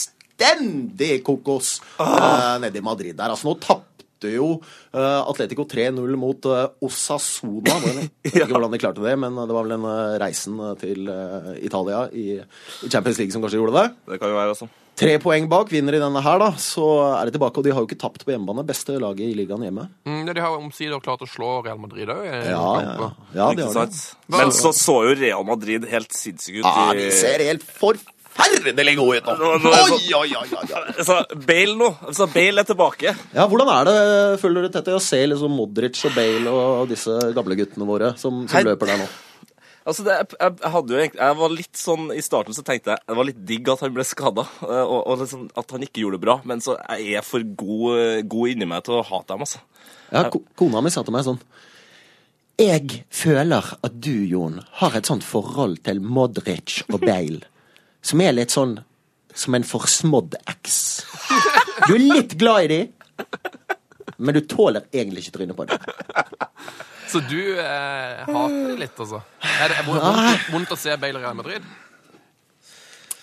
Speaker 5: fullstendig kokos eh, nede i Madrid der. Altså, nå tapte jo eh, Atletico 3-0 mot eh, Osasuna. Var det? Jeg vet ikke hvordan de klarte det, men det var vel den eh, reisen eh, til eh, Italia i, i Champions League som kanskje gjorde det.
Speaker 4: Det kan jo være, altså.
Speaker 5: Tre poeng bak vinner i denne her, da. Så er det tilbake, og de har jo ikke tapt på hjemmebane. Beste laget i ligaen hjemme.
Speaker 3: Mm, ja, de har omsider klart å slå Real Madrid eh, òg.
Speaker 5: Ja, ja, ja. ja de
Speaker 4: Ikke
Speaker 5: har
Speaker 4: sant?
Speaker 5: det.
Speaker 4: Men så så jo Real Madrid helt sinnssyk ut.
Speaker 5: Ja,
Speaker 4: i-
Speaker 5: de ser helt forferdelig gode ut nå.
Speaker 4: Nå- nå er det
Speaker 5: Oi,
Speaker 4: sånn-
Speaker 5: oi, oi, oi, oi.
Speaker 4: Jeg sa Bale nå. Jeg sa Bale er tilbake.
Speaker 5: Ja, Hvordan er det, føler dere, Tete, å se liksom Modric og Bale og disse gamle guttene våre som, som
Speaker 4: Hei.
Speaker 5: løper der nå?
Speaker 4: Altså, det, jeg, jeg, hadde jo egentlig, jeg var litt sånn, I starten så tenkte jeg det var litt digg at han ble skada, og, og liksom, at han ikke gjorde det bra. Men så jeg er for god, god inni meg til å hate dem, altså.
Speaker 5: Ja, ko kona mi sa til meg sånn Jeg føler at du, Jon, har et sånt forhold til Modric og Bale som er litt sånn som en forsmådd eks. Du er litt glad i de, men du tåler egentlig ikke trynet på dem.
Speaker 3: Så du eh, hater de litt, altså? Er det er vondt, vondt, vondt å se Bale i Real Madrid?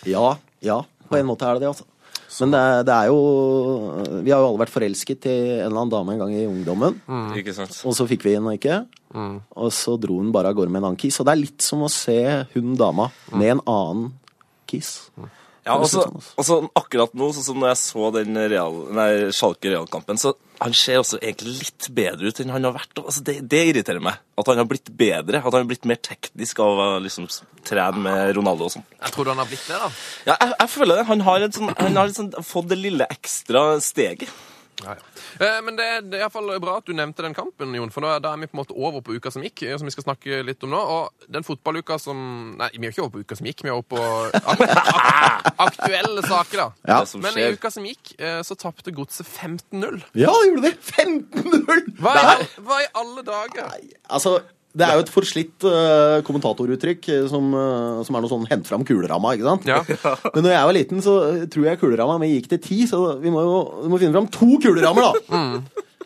Speaker 5: Ja, ja, på en måte er det det, altså. Men det, er- det er jo Vi har jo alle vært forelsket i en eller annen dame en gang i ungdommen.
Speaker 4: Ikke sant?
Speaker 5: Og så fikk vi henne ikke.
Speaker 3: Mm.
Speaker 5: Og så dro hun bare av gårde med en annen kiss. Og det er litt som å se hun dama
Speaker 3: Mm.
Speaker 5: med en annen kiss.
Speaker 4: Ja,
Speaker 5: Det er
Speaker 4: altså,
Speaker 5: sånn, altså.
Speaker 4: altså, akkurat nå, sånn som når jeg så den real, nei, Schalke-realkampen, så han ser også egentlig litt bedre ut enn han har vært. og Altså, det, det irriterer meg. At han har blitt bedre. At han har blitt mer teknisk av å liksom, trene med Ronaldo og sånn.
Speaker 3: Jeg tror du han har blitt det, da.
Speaker 4: Ja, jeg, jeg føler det. Han har, et sånn, han har et sånn, fått det lille ekstra steget.
Speaker 3: Ja, ja. Eh, Men det, det er iallfall bra at du nevnte den kampen, Jon. For da, da er vi på en måte over på uka som gikk, eh, som vi skal snakke litt om nå. Og den fotballuka som Nei, vi er ikke over på uka som gikk, vi er over på ak ak aktuelle saker, da.
Speaker 5: Ja.
Speaker 4: Det som
Speaker 3: Men i
Speaker 4: skjer.
Speaker 3: uka som gikk, eh, så tapte Godset 15-0.
Speaker 5: Ja, gjorde det! 15-0!
Speaker 3: Hva, i all- hva i alle dager?
Speaker 5: Altså, det er jo et forslitt eh, kommentatoruttrykk eh, som, eh, som er noe sånn 'hent fram kuleramma', ikke sant?
Speaker 3: Ja.
Speaker 5: Men når jeg var liten, så eh, tror jeg kuleramma mi gikk til ti, så vi må jo vi må finne fram to kulerammer, da!
Speaker 3: Mm.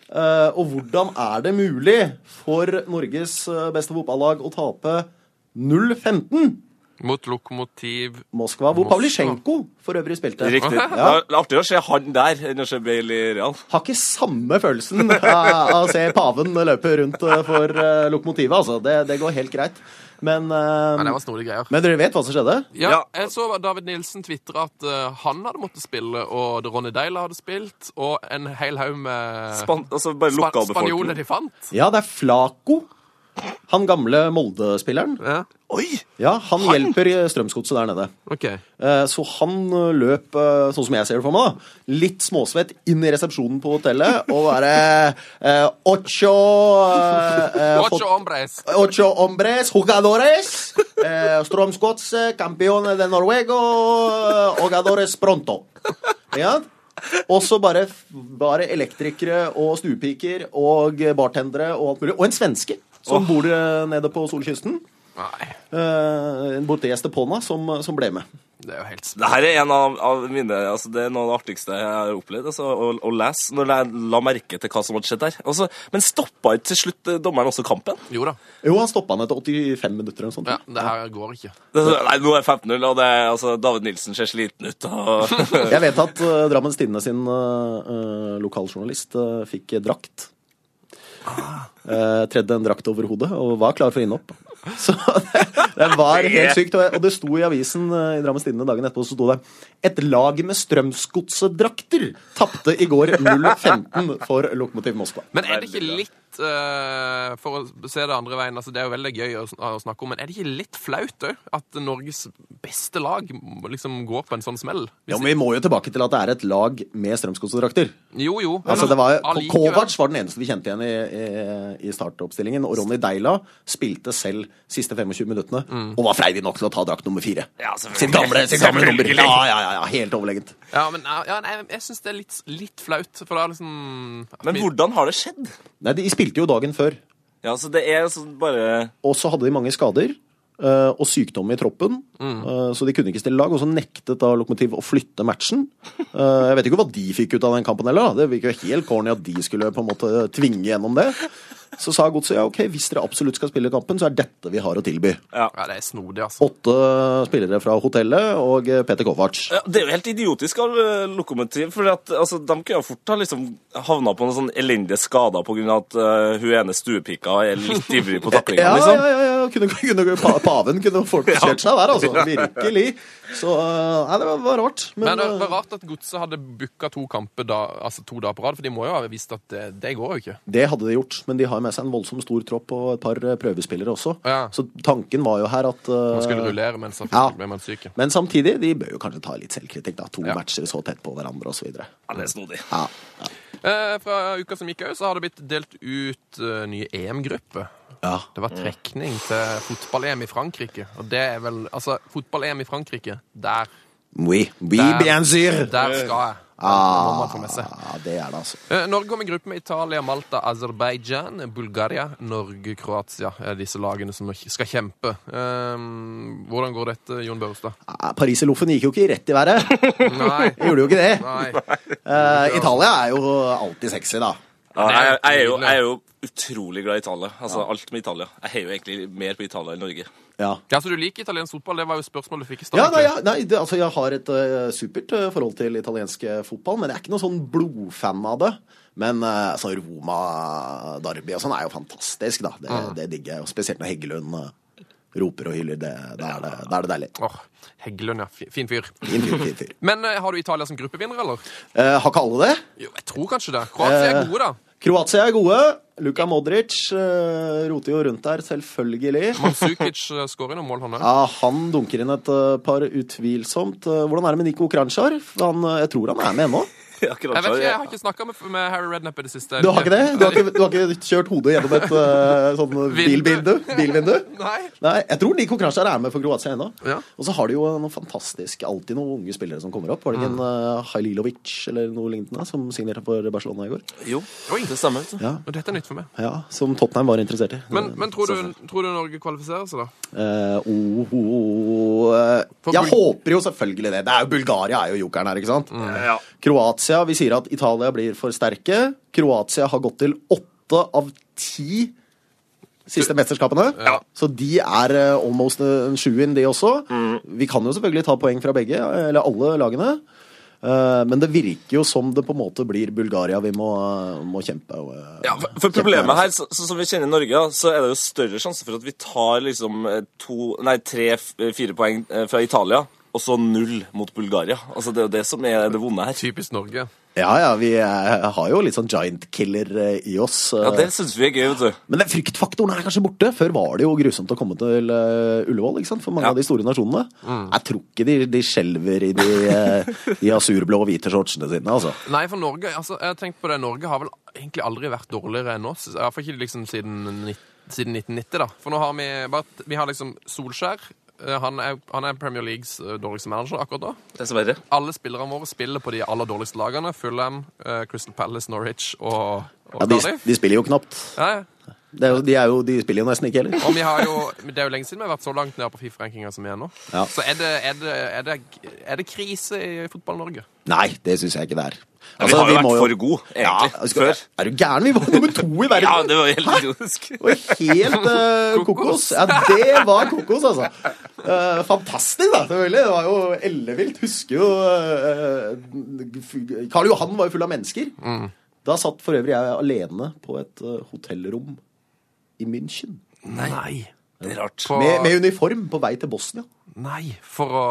Speaker 5: Eh, og hvordan er det mulig for Norges eh, beste fotballag å tape 0-15?
Speaker 3: Mot lokomotiv
Speaker 5: Moskva, hvor
Speaker 3: Moskva.
Speaker 5: Pavlisjenko for øvrig spilte.
Speaker 4: Riktig. Det
Speaker 5: Ja.
Speaker 4: er artigere å se han der enn å se Bale i Real.
Speaker 5: Har ikke samme følelsen eh, av å se paven løpe rundt eh, for eh, lokomotivet, altså. Det, det går helt greit. Men, eh,
Speaker 3: Nei, det var snodige greier.
Speaker 5: men dere vet hva som skjedde?
Speaker 3: Ja,
Speaker 4: Ja.
Speaker 3: jeg så David Nilsen tvitre at eh, han hadde måttet spille, og Ronny Deila hadde spilt, og en hel haug med
Speaker 4: Span, altså bare
Speaker 3: spa- spanjoler
Speaker 4: lokalbefolkningen.
Speaker 3: de fant.
Speaker 5: Ja, det er Flaco. Han gamle Molde-spilleren.
Speaker 3: Ja,
Speaker 4: Oi!
Speaker 5: Ja, han, hjelper eh, Strømsgodset der nede.
Speaker 3: ok.
Speaker 5: Eh, Så han eh, løp, eh, sånn som jeg ser det for meg, da, litt småsvett inn i resepsjonen på hotellet og bare eh, Ocho eh, eh,
Speaker 3: Ocho
Speaker 5: fot-
Speaker 3: hombres.
Speaker 5: Ocho hombres, jugadores. Eh, Strømsgodset, campeone de Norwego, jugadores pronto. Ja. Og så bare, bare elektrikere og stuepiker og bartendere og alt mulig. Og en svenske som bor eh, nede på solkysten.
Speaker 3: Nei,
Speaker 5: Eh, borte i Estepona, som, som ble med.
Speaker 3: det er jo helt
Speaker 4: Det her er en av, av mine, altså det er noe av det artigste jeg har opplevd altså, å, å lese, når jeg la merke til hva som hadde skjedd der. Altså, men stoppa ikke til slutt eh, dommeren også kampen?
Speaker 3: Jo da.
Speaker 5: Jo, han stoppa han etter 85 minutter eller noe sånt.
Speaker 3: Ja, det her går ikke.
Speaker 4: Det, er sånn, nei, nå er 15-0, og det, er- altså, David Nilsen ser sliten ut. Og,
Speaker 5: Jeg vet at eh, Drammens Tidende sin eh, eh, lokaljournalist eh, fikk eh, drakt. Eh, tredde en drakt over hodet og var klar for innhopp. Så det, det var helt sykt. Og, jeg- og det sto i avisen eh, i Drammens Tidende dagen etterpå så sto det Et lag med Strømsgodset-drakter tapte i går 0-15 for Lokomotiv Moskva.
Speaker 3: Men er det ikke litt eh, For å se det andre veien, altså det er jo veldig gøy å, sn- å snakke om, men er det ikke litt flaut òg? At Norges beste lag må liksom går på en sånn smell?
Speaker 5: Ja, men Vi må jo tilbake til at det er et lag med Strømsgodset-drakter.
Speaker 3: Jo, jo.
Speaker 5: Altså, det var, Ko-
Speaker 3: Allikevel.
Speaker 5: Kovac var den eneste vi kjente igjen i, i, i startoppstillingen. Og Ronny Deila spilte selv siste 25 minuttene og var freidig nok til å ta drakt nummer fire.
Speaker 4: ja, selvfølgelig.
Speaker 5: Sitt gamle, sitt gamle nummer. Ja, ja, ja, ja, helt overlegent.
Speaker 3: Ja, men ja, nei, jeg syns det er litt, litt flaut, for det er liksom
Speaker 4: Men hvordan har det skjedd?
Speaker 5: Nei, de spilte jo dagen før.
Speaker 4: Ja, altså, det er sånn bare
Speaker 5: Og så hadde de mange skader. eh, og sykdom i troppen, eh, så de kunne ikke stille lag. Og så nektet da Lokomotiv å flytte matchen. Eh, jeg vet ikke hva de fikk ut av den kampen heller. da. Det virker jo helt corny at de skulle på en måte tvinge gjennom det. Så sa godset ja, ok, hvis dere absolutt skal spille kampen, så er dette vi har å tilby.
Speaker 3: Ja, det er snodig, altså.
Speaker 5: åtte spillere fra hotellet og eh, Peter Kovac.
Speaker 4: Ja, Det er jo helt idiotisk av eh, Lokomotiv, for at, altså, de kunne jo fort ha liksom, havna på noen sånn elendige skader på grunn av at eh, hun ene stuepika er litt ivrig på taklinga,
Speaker 5: Ja, ja,
Speaker 4: liksom.
Speaker 5: ja, ja. Kunne, kunne, pa, paven kunne fortsatt seg der, altså. Virkelig. Så eh, Nei, det var, var rart. Men,
Speaker 3: Men det var
Speaker 5: eh,
Speaker 3: rart at Godset hadde booka to kamper da, altså to dager på rad, for de må jo ha visst at det, det går jo ikke.
Speaker 5: det hadde de gjort. Men de har med seg en voldsomt stor tropp og et par eh, prøvespillere også.
Speaker 3: Ja.
Speaker 5: Så tanken var jo her at eh,
Speaker 3: Man skulle rullere mens man
Speaker 5: Ja.
Speaker 3: ble man syk.
Speaker 5: Men samtidig, de bør jo kanskje ta litt selvkritikk, da. To
Speaker 3: Ja.
Speaker 5: matcher så tett på hverandre og så videre.
Speaker 4: Ja, det er snodig.
Speaker 5: Ja.
Speaker 3: Eh, fra uka som gikk òg, så har det blitt delt ut eh, nye EM-grupper.
Speaker 5: Ja.
Speaker 3: Det var trekning til fotball-EM i Frankrike. Og det er vel Altså, fotball-EM i Frankrike, der,
Speaker 5: Oui, oui,
Speaker 3: Der.
Speaker 5: bien sûr!
Speaker 3: der skal jeg. Det må man få med seg.
Speaker 5: Ah, det er det, altså.
Speaker 3: Eh, Norge kom i gruppe med Italia, Malta, Aserbajdsjan, Bulgaria, Norge, Kroatia. er Disse lagene som skal kjempe. Eh, hvordan går dette, Jon Børstad?
Speaker 5: Ah, Pariserloffen gikk jo ikke rett i været.
Speaker 3: Nei.
Speaker 5: Det gjorde jo ikke det.
Speaker 3: Nei.
Speaker 5: Eh, Italia er jo alltid sexy, da.
Speaker 4: Ja, jeg, jeg, er jo,
Speaker 3: nydelig.
Speaker 4: jeg er jo utrolig glad i Italia. Altså, Alt med Italia. Jeg heier jo egentlig mer på Italia enn Norge.
Speaker 5: Ja.
Speaker 3: Ja, så du liker italiensk fotball? Det var jo spørsmålet du fikk i stad.
Speaker 5: Ja, nei,
Speaker 3: egentlig.
Speaker 5: ja, nei det, altså, jeg har et eh, supert eh, forhold til italiensk eh, fotball, men jeg er ikke noen sånn blodfan av det. Men eh, sånn Roma-Darby og sånn er jo fantastisk, da. Det,
Speaker 3: Mm.
Speaker 5: det digger jeg. Og spesielt når Heggelund eh, roper og hyller. Det, da, er det, da er det deilig.
Speaker 3: Åh, Heggelund, ja. Fi- Fin fyr.
Speaker 5: Fin fyr, fin fyr.
Speaker 3: Men eh, har du Italia som gruppevinner, eller?
Speaker 5: Eh, har ikke alle det?
Speaker 3: Jo, jeg tror kanskje det. Kroatia er
Speaker 5: Eh.
Speaker 3: gode, da.
Speaker 5: Kroatia er gode. Luka Modric eh, roter jo rundt der, selvfølgelig.
Speaker 3: Mansukic eh, skårer noen mål, han òg.
Speaker 5: Ja, Han dunker inn et eh, par utvilsomt. Eh, Hvordan er det med Nico Kranjčar? Han, eh, Jeg tror han er med ennå.
Speaker 4: Akkurat
Speaker 3: Jeg vet
Speaker 4: så-
Speaker 3: ikke, jeg har ikke snakka med, med Harry Redknapp i det siste.
Speaker 5: Du har ikke det? Du har ikke, du har ikke kjørt hodet gjennom et eh, sånn bilvindu? bilvindu?
Speaker 3: Nei.
Speaker 5: Nei, jeg tror Niko Krasjar er med for Kroatia ennå.
Speaker 3: Ja.
Speaker 5: Og så har de jo noen fantastisk, alltid noen unge spillere som kommer opp. Var
Speaker 3: Mm.
Speaker 5: det ikke en eh, Hajlilovic eller noe lignende som signerte for Barcelona i går?
Speaker 4: Jo, det stemmer. vet du.
Speaker 5: Ja,
Speaker 3: Og dette er nytt for meg.
Speaker 5: ja Som Tottenham var interessert i.
Speaker 3: Men, men tror, du, tror du Norge kvalifiserer seg, da?
Speaker 5: Eh, oh, oh, oh, eh,
Speaker 3: For
Speaker 5: Jeg
Speaker 3: Bul-
Speaker 5: håper jo selvfølgelig det. det er jo Bulgaria er jo jokeren her, ikke sant?
Speaker 4: Mm.
Speaker 5: Kroatia Vi sier at Italia blir for sterke. Kroatia har gått til åtte av ti siste mesterskapene. Så de er eh, almost en sjuer, de også.
Speaker 4: Mm.
Speaker 5: Vi kan jo selvfølgelig ta poeng fra begge, eller alle lagene. Eh, Men det virker jo som det på en måte blir Bulgaria vi må, må kjempe. eh,
Speaker 4: Ja, for- for problemet her, så, så som vi kjenner i Norge, da, så er det jo større sjanse for at vi tar liksom eh, to, nei, tre-fire poeng eh, fra Italia, og så null mot Bulgaria. Altså, Det er jo det som er det vonde her.
Speaker 3: Typisk Norge.
Speaker 5: Ja ja, vi eh, har jo litt sånn giant killer eh, i oss. eh,
Speaker 4: Ja, Det syns vi er gøy, vet du.
Speaker 5: Men den fryktfaktoren er kanskje borte. Før var det jo grusomt å komme til eh, Ullevål ikke sant? for mange
Speaker 4: Ja. Mm.
Speaker 5: av de store nasjonene. Jeg tror ikke de, de skjelver i de, eh, de asurblå og hvite shortsene sine, altså.
Speaker 3: Nei, for Norge altså, jeg har tenkt på det, Norge har vel egentlig aldri vært dårligere enn oss. Iallfall ikke liksom siden, nitt- siden 1990, da. For nå har vi bare Vi har liksom Solskjær. eh, Han er, han er Premier Leagues eh, dårligste manager akkurat da.
Speaker 4: Dessverre.
Speaker 3: Alle spillerne våre spiller på de aller dårligste lagene. Fulham, eh, Crystal Palace, Norwich og, og
Speaker 5: Ja, de,
Speaker 3: Cardiff.
Speaker 5: de spiller jo knapt.
Speaker 3: Ja, ja.
Speaker 5: Det er jo, de, er jo, de spiller jo nesten ikke heller.
Speaker 3: Og vi har jo, det er jo lenge siden vi har vært så langt ned på Fifa-rankinga som vi er nå.
Speaker 5: Ja.
Speaker 3: Så er det, er, det, er, det, er det krise i Fotball-Norge?
Speaker 5: Nei, det syns jeg ikke det er. Altså,
Speaker 4: vi har jo
Speaker 5: må
Speaker 4: vært for gode, egentlig,
Speaker 5: Ja, skal-
Speaker 4: før.
Speaker 5: Er du gæren? Vi var nummer to i verden!
Speaker 4: Ja, det var jo helt idiotisk.
Speaker 5: Og helt eh,
Speaker 3: Kokos.
Speaker 5: kokos. Ja, det var kokos, altså. Eh, fantastisk, da, selvfølgelig. Det var jo ellevilt. Husker jo eh, f- Karl Johan var jo full av mennesker. Da satt for øvrig jeg alene på et eh, hotellrom i München.
Speaker 3: Nei. Nei.
Speaker 4: Det er rart.
Speaker 3: På,
Speaker 5: Med, med uniform på vei til Bosnia
Speaker 3: Nei, for å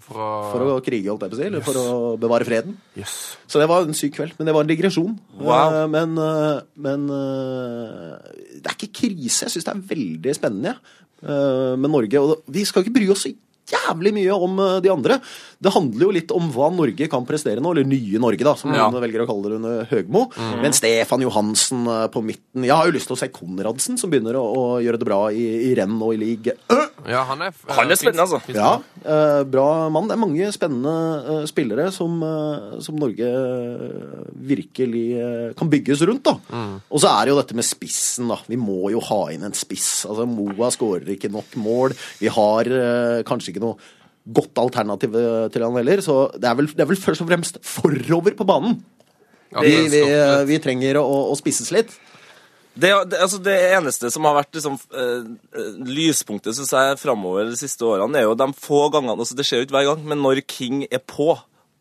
Speaker 3: For å,
Speaker 5: for å krige, holdt jeg på å si. Eller for å bevare freden.
Speaker 3: Jøss.
Speaker 5: Så det var en syk kveld. Men det var en digresjon.
Speaker 4: Wow.
Speaker 5: Eh, Men, eh, men eh, det er ikke krise. Jeg syns det er veldig spennende jeg, eh, med Norge. Og vi skal ikke bry oss så jævlig mye om eh, de andre. Det handler jo litt om hva Norge kan prestere nå, eller nye Norge, da, som
Speaker 3: Ja.
Speaker 5: noen velger å kalle det under Høgmo. Men Stefan Johansen eh, på midten Jeg har jo lyst til å se Konradsen, som begynner å, å gjøre det bra i, i renn og i league. Øh!
Speaker 3: Ja, han er eh,
Speaker 4: Han er
Speaker 3: finsk-
Speaker 4: spennende, altså.
Speaker 3: finsk-
Speaker 5: Ja, eh, bra mann. Det er mange spennende eh, spillere som, eh, som Norge eh, virkelig eh, kan bygges rundt, da.
Speaker 3: Mm.
Speaker 5: Og så er det jo dette med spissen, da. Vi må jo ha inn en spiss. Altså, Moa skårer ikke nok mål. Vi har eh, kanskje ikke noe godt alternativ eh, til han heller, så det er vel, det er vel først og fremst forover på banen.
Speaker 3: Ja,
Speaker 5: Vi,
Speaker 3: det er
Speaker 5: vi, eh,
Speaker 3: stoppet.
Speaker 5: vi trenger å, å spisses litt.
Speaker 4: Det, det, altså det eneste som har vært liksom, eh, eh, lyspunktet synes jeg, framover de siste årene, er jo de få gangene altså Det skjer jo ikke hver gang, men når King er på,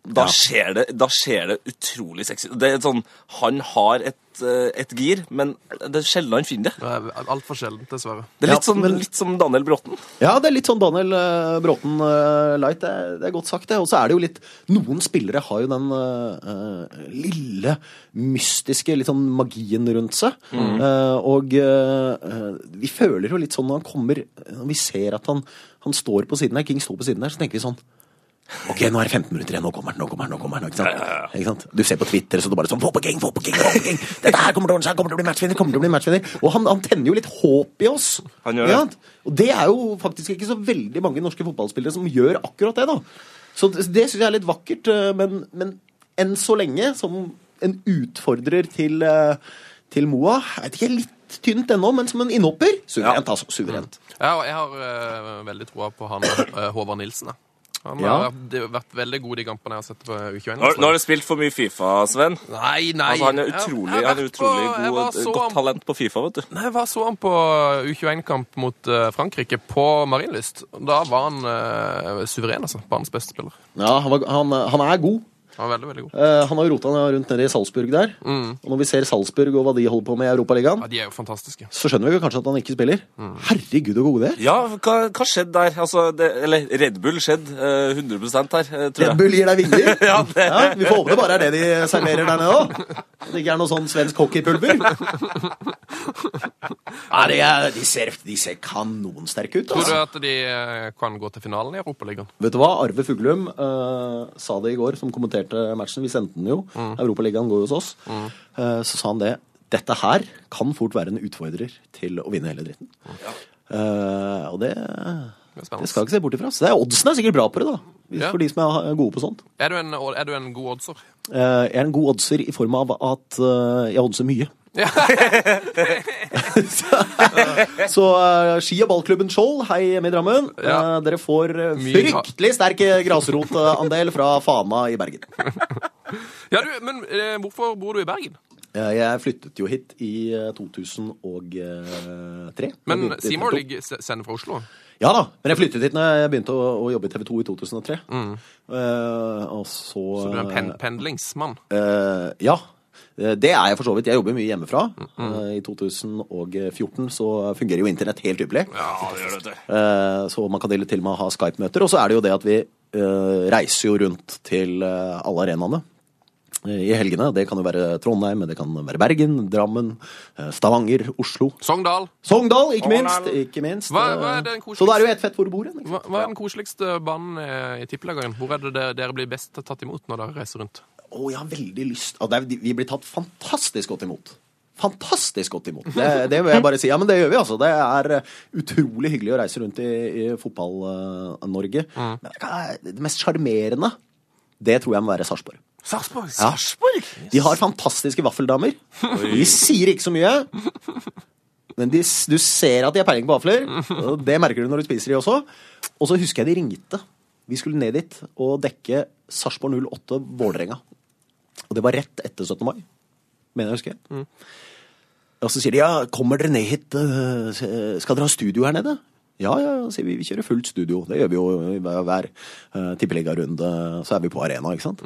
Speaker 4: da, skjer, det, da skjer det utrolig sexy. Det er sånn, Han har et, eh, et gir, men det er sjelden han finner det.
Speaker 3: Det er Altfor sjeldent, dessverre.
Speaker 4: Det er litt,
Speaker 5: Ja,
Speaker 4: sånn,
Speaker 5: men-
Speaker 4: litt som Daniel Bråten.
Speaker 5: Ja, det er litt sånn Daniel eh, Bråten eh, light. Det er, det er godt sagt, det. Og så er det jo litt Noen spillere har jo den eh, eh, lille, mystiske litt sånn magien rundt seg.
Speaker 4: Mm.
Speaker 5: Eh, og eh, eh, vi føler jo litt sånn når han kommer Når vi ser at han, han står på siden her, King står på siden her, så tenker vi sånn Ok, nå er det 15 minutter igjen. Nå kommer den, nå kommer den. nå kommer den, ikke sant? Ikke sant? Du ser på Twitter, så det bare sånn Få på gang, få på gang, få på gang! Dette her kommer til å ordne seg, kommer til å bli matchvinner, kommer til å bli matchvinner. Og han, han tenner jo litt håp i oss.
Speaker 4: Han gjør det.
Speaker 5: ikke sant? Og det er jo faktisk ikke så veldig mange norske fotballspillere som gjør akkurat det, da. Så det, det syns jeg er litt vakkert, eh, men, men enn så lenge, som en utfordrer til, eh, til Moa Jeg vet ikke, litt tynt ennå, men som en innhopper. Suverent, altså. Suverent.
Speaker 3: Ja, og jeg har eh, veldig troa på han eh, Håvard Nilsen. Da. Han
Speaker 5: Ja.
Speaker 3: har vært, det har vært veldig god i kampene jeg har sett på U21.
Speaker 4: Nå, nå har du spilt for mye Fifa, Sven.
Speaker 3: Nei, nei.
Speaker 4: Altså, han er
Speaker 3: Jeg- jeg
Speaker 4: utrolig,
Speaker 3: har
Speaker 4: han er
Speaker 3: vært
Speaker 4: utrolig
Speaker 3: på- jeg var
Speaker 4: god,
Speaker 3: så
Speaker 4: godt
Speaker 3: han-
Speaker 4: talent på Fifa, vet du.
Speaker 3: Nei, jeg var så han på U21-kamp mot eh, Frankrike på Marienlyst. Da var han eh, suveren, altså. Banens beste spiller.
Speaker 5: Ja, han, var, han, han er god.
Speaker 3: Han var veldig, veldig god.
Speaker 5: Eh, han har jo rota rundt nede i Salzburg der. Og når vi ser Salzburg og hva de holder på med i Europaligaen,
Speaker 3: Ja, De er jo fantastiske.
Speaker 5: så skjønner vi jo kanskje at han ikke spiller. Herregud, så gode de er.
Speaker 4: Ja, hva, hva skjedde der? Altså, det, eller Red Bull skjedde eh, 100 her, eh, tror jeg.
Speaker 5: Red Bull gir deg vinger.
Speaker 4: Ja, det-
Speaker 5: ja, vi får håpe det bare er det de serverer der nede òg. At det ikke er noe sånn svensk hockeypulver. Ja, de, er, de, ser, de ser kanonsterke ut.
Speaker 3: Tror du
Speaker 5: Altså.
Speaker 3: at de eh, kan gå til finalen i Europaligaen?
Speaker 5: Vet du hva? Arve Fuglum eh, sa det i går, som kommenterte matchen. Vi sendte den jo.
Speaker 3: Mm.
Speaker 5: Europaligaen går jo hos oss. Eh, så sa han det. Dette her kan fort være en utfordrer til å vinne hele dritten. Eh, og det,
Speaker 3: Det er
Speaker 5: det
Speaker 3: spennende.
Speaker 5: skal jeg ikke se bort ifra. Så det er, oddsen er sikkert bra på det, da.
Speaker 3: Ja.
Speaker 5: For de som er gode på sånt.
Speaker 3: Er, du en, er du en god oddser?
Speaker 5: Eh, jeg er en god oddser i form av at eh, jeg oddser mye. så så eh, ski- og ballklubben Skjold, hei hjemme i Drammen.
Speaker 3: Ja.
Speaker 5: Eh, dere får eh,
Speaker 3: Mye gra-
Speaker 5: fryktelig sterk eh, grasrotandel fra Fana i Bergen.
Speaker 3: Ja, du, men eh, hvorfor bor du i Bergen?
Speaker 5: Eh, jeg flyttet jo hit i eh, 2003. Jeg
Speaker 3: Men
Speaker 5: begynte i
Speaker 3: Seymour
Speaker 5: TV2.
Speaker 3: ligger- se- sender fra Oslo.
Speaker 5: Ja da, men jeg flyttet hit når jeg begynte å, å jobbe i TV 2 i 2003. Eh, og så
Speaker 3: Mm. Så du er en pen, pendlingsmann.
Speaker 5: Eh, ja. Eh, Det er jeg for så vidt. Jeg jobber mye hjemmefra. Eh, I 2014 så fungerer jo internett helt ypperlig.
Speaker 4: Ja, det gjør det, vet du.
Speaker 5: Eh, Så man kan til til og med ha Skype-møter. Og så er det jo det at vi eh, reiser jo rundt til eh, alle arenaene eh, i helgene. Det kan jo være Trondheim, men det kan være Bergen, Drammen, eh, Stavanger, Oslo.
Speaker 3: Sogndal.
Speaker 5: Sogndal, ikke minst!
Speaker 4: Arendal.
Speaker 5: Ikke minst.
Speaker 3: Hva- hva er den
Speaker 5: Eh,
Speaker 3: koseligste-
Speaker 5: Så da er det jo ett fett hvor du bor hen. ikke
Speaker 3: Hva,
Speaker 5: sant?
Speaker 3: hva er den koseligste banen eh, i Tippeligaen? Hvor er det de- dere blir best tatt imot når dere reiser rundt?
Speaker 5: Å, jeg har veldig lyst Å, det er, Vi blir tatt fantastisk godt imot. Fantastisk godt imot. Det, det vil jeg bare si. Ja, men det gjør vi, altså. Det er eh, utrolig hyggelig å reise rundt i, i Fotball-Norge. Men det kan- det mest sjarmerende, det tror jeg må være Sarpsborg.
Speaker 3: Sarpsborg!
Speaker 5: De har fantastiske vaffeldamer. De sier ikke så mye. Men de, s- du ser at de har peiling på vafler. og Det merker du når du spiser de også. Og så husker jeg de ringte. Vi skulle ned dit og dekke Sarpsborg 08 Vålerenga. Og det var rett etter 17. mai, mener jeg å huske. Og så sier de ja, kommer dere ned hit? øh, se- Skal dere ha studio her nede? Ja, ja, sier vi. Vi kjører fullt studio. Det gjør vi jo i hver- hver uh, tippeligarunde. Så er vi på arena, ikke sant?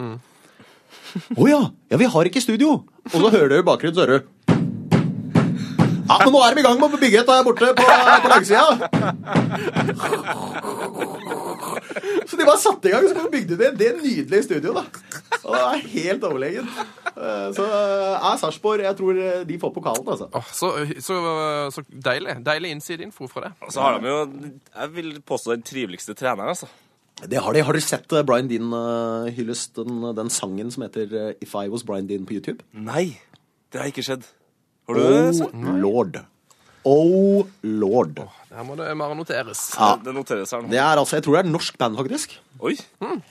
Speaker 5: Å ja! Ja, vi har ikke studio! Og så hører dere i bakgrunnen, så hører du Ja, men nå er de i gang med å bygge et der borte på, på langsida! Så de bare satte i gang, så bygde de det nydelige studioet, da. Og det er helt overlegent. Eh, Så er Sarpsborg Jeg tror eh, de får pokalen, altså.
Speaker 3: Åh, så, så, så deilig. Deilig innsideinfo fra deg.
Speaker 4: Så Altså, har de jo, jeg vil påstå, den triveligste treneren, altså.
Speaker 5: Det har de. Har dere sett eh, Brian Dean eh, hyllest den, den sangen som heter eh, If I Was Brian Dean på YouTube?
Speaker 4: Nei, det har ikke skjedd. Har du det?
Speaker 5: Oh
Speaker 4: Sven?
Speaker 5: lord. Oh lord.
Speaker 3: Her må det bare noteres.
Speaker 5: Ja.
Speaker 4: Det- Det noteres her nå.
Speaker 5: Det er altså, Jeg tror det er et norsk band, faktisk.
Speaker 4: Oi.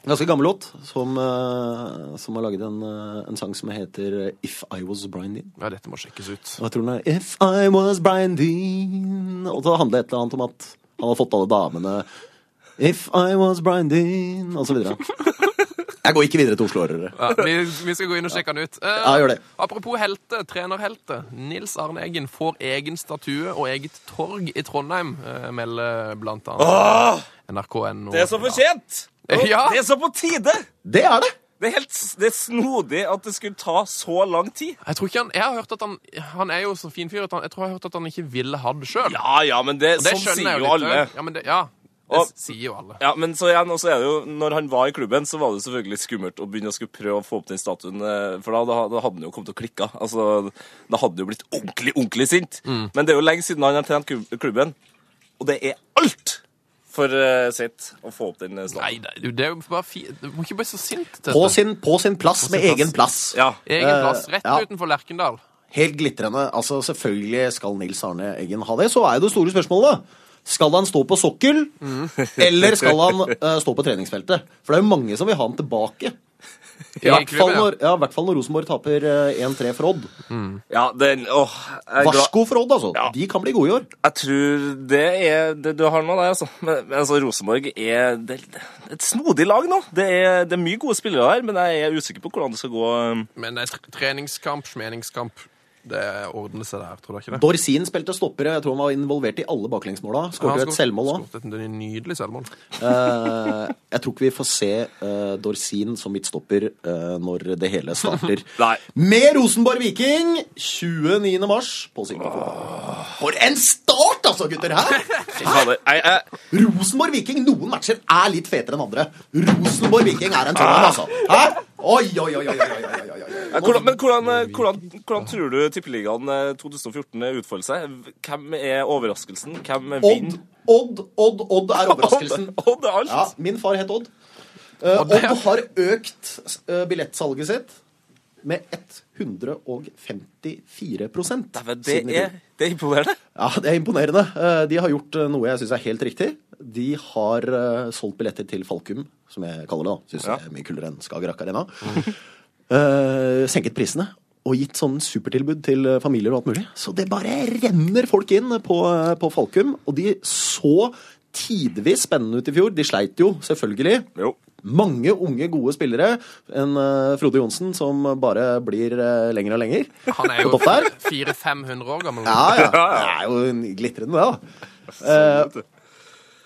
Speaker 5: Ganske gammel låt, som, eh, som har laget en, eh, en sang som heter eh, If I Was Brian Dean.
Speaker 3: Ja, dette må sjekkes ut.
Speaker 5: Og jeg tror den er If I Was Brian Dean Og så handler det et eller annet om at han har fått alle damene If I Was Brian Dean Og så videre. Jeg går ikke videre til Oslo Årere.
Speaker 3: Ja, vi, vi skal gå inn og sjekke han ut. Eh,
Speaker 5: Ja, gjør det.
Speaker 3: Apropos helte, trenerhelte. Nils Arne Eggen får egen statue og eget torg i Trondheim, eh, melder blant annet NRK.no.
Speaker 4: Ah! Det er så fortjent!
Speaker 3: Ja.
Speaker 4: Det er så på tide!
Speaker 5: Det er det!
Speaker 4: Det er helt s- det er snodig at det skulle ta så lang tid.
Speaker 3: Jeg tror ikke han, jeg har hørt at han Han er jo så fin fyr at han, jeg tror jeg har hørt at han ikke ville ha det sjøl.
Speaker 4: Ja, ja, men det,
Speaker 3: det
Speaker 4: sånn
Speaker 3: skjønner
Speaker 4: sier
Speaker 3: jeg jo
Speaker 4: jo
Speaker 3: litt.
Speaker 4: alle.
Speaker 3: Ja, men det, ja, det
Speaker 4: Og-
Speaker 3: sier jo alle.
Speaker 4: Ja, men så igjen, og så er det jo, når han var i klubben, så var det selvfølgelig skummelt å begynne å skulle prøve å få opp den statuen, eh, for da, da, da hadde han jo kommet til å klikke. Altså, da hadde han jo blitt ordentlig, ordentlig sint. Men det er jo lenge siden han har trent kub- klubben, og det er alt for eh, sitt å få opp den eh,
Speaker 3: Nei,
Speaker 4: staven.
Speaker 3: nei, du, det er jo bare fi... Du må ikke bli så sint. Tete.
Speaker 5: På sin, på sin plass med
Speaker 3: plass.
Speaker 5: egen plass.
Speaker 4: Ja.
Speaker 3: Egen plass.
Speaker 5: Eh,
Speaker 3: Rett
Speaker 5: ja.
Speaker 3: utenfor Lerkendal.
Speaker 5: Helt glitrende. Altså, selvfølgelig skal Nils Arne Eggen ha det. Så er jo det store spørsmålet. Skal han stå på sokkel, eller skal han eh, stå på treningsfeltet? For det er jo mange som vil ha han tilbake. I
Speaker 3: I
Speaker 5: hvert fall
Speaker 3: klubben, ja.
Speaker 5: når, ja, i hvert fall når Rosenborg taper eh, 1-3 for Odd.
Speaker 4: Ja, den, åh, jeg, er glad.
Speaker 5: Varsko for Odd, altså. De kan bli gode i år.
Speaker 4: jeg tror det er det du har nå, der, altså. Men, men altså, Rosenborg er det, det er et snodig lag nå. Det er, det er mye gode spillere her, men jeg er usikker på hvordan det skal gå. eh,
Speaker 3: Men det er tr- treningskamp, smeningskamp. Det ordner seg der, tror du ikke det?
Speaker 5: Dorsin spilte stoppere. Jeg tror han var involvert i alle baklengsmåla. Skåret jo et selvmål òg.
Speaker 3: Det er nydelig selvmål.
Speaker 5: Eh, jeg tror ikke vi får se eh, Dorsin som midtstopper eh, når det hele starter.
Speaker 4: Nei.
Speaker 5: Med Rosenborg Viking 29. mars på Singapore. For en start, altså, gutter! Hæ?
Speaker 4: fader. Jeg, jeg,
Speaker 5: Rosenborg Viking, noen matcher er litt fetere enn andre. Rosenborg Viking er en sånn
Speaker 4: Ah.
Speaker 5: en, altså. Hæ? Oi, oi, oi, oi, oi, oi, oi, oi, oi.
Speaker 4: jeg, hvordan, men hvordan, eh, hvordan, hvordan tror du Tippeligaen eh, 2014 utfolder seg? Hvem er overraskelsen? Hvem
Speaker 5: Odd,
Speaker 4: vinner?
Speaker 5: Odd, Odd, Odd er overraskelsen.
Speaker 4: Odd, Odd er alt.
Speaker 5: Ja, min far het Odd. Eh, Odd har økt eh, billettsalget sitt med
Speaker 4: Dæven,
Speaker 5: 154
Speaker 4: det,
Speaker 5: siden i
Speaker 4: er,
Speaker 5: fjor.
Speaker 4: det er imponerende.
Speaker 5: Ja, det er imponerende. Eh, De har gjort eh, noe jeg syns er helt riktig. De har eh, solgt billetter til Falkum, som jeg kaller det. da. Syns
Speaker 4: Ja.
Speaker 5: det er mye kulere enn Skagerrak Arena. Eh, senket prisene og gitt sånn supertilbud til eh, familier og alt mulig. Så det bare renner folk inn på, eh, på Falkum. Og de så tidvis spennende ut i fjor. De sleit jo, selvfølgelig.
Speaker 4: Jo.
Speaker 5: Mange unge, gode spillere. En eh, Frode Johnsen som bare blir eh, lenger og lenger.
Speaker 3: Han er
Speaker 5: på
Speaker 3: jo
Speaker 5: topp der.
Speaker 3: 400-500 år gammel.
Speaker 5: Ja, ja. Det er jo en glitrende, det, da. Eh,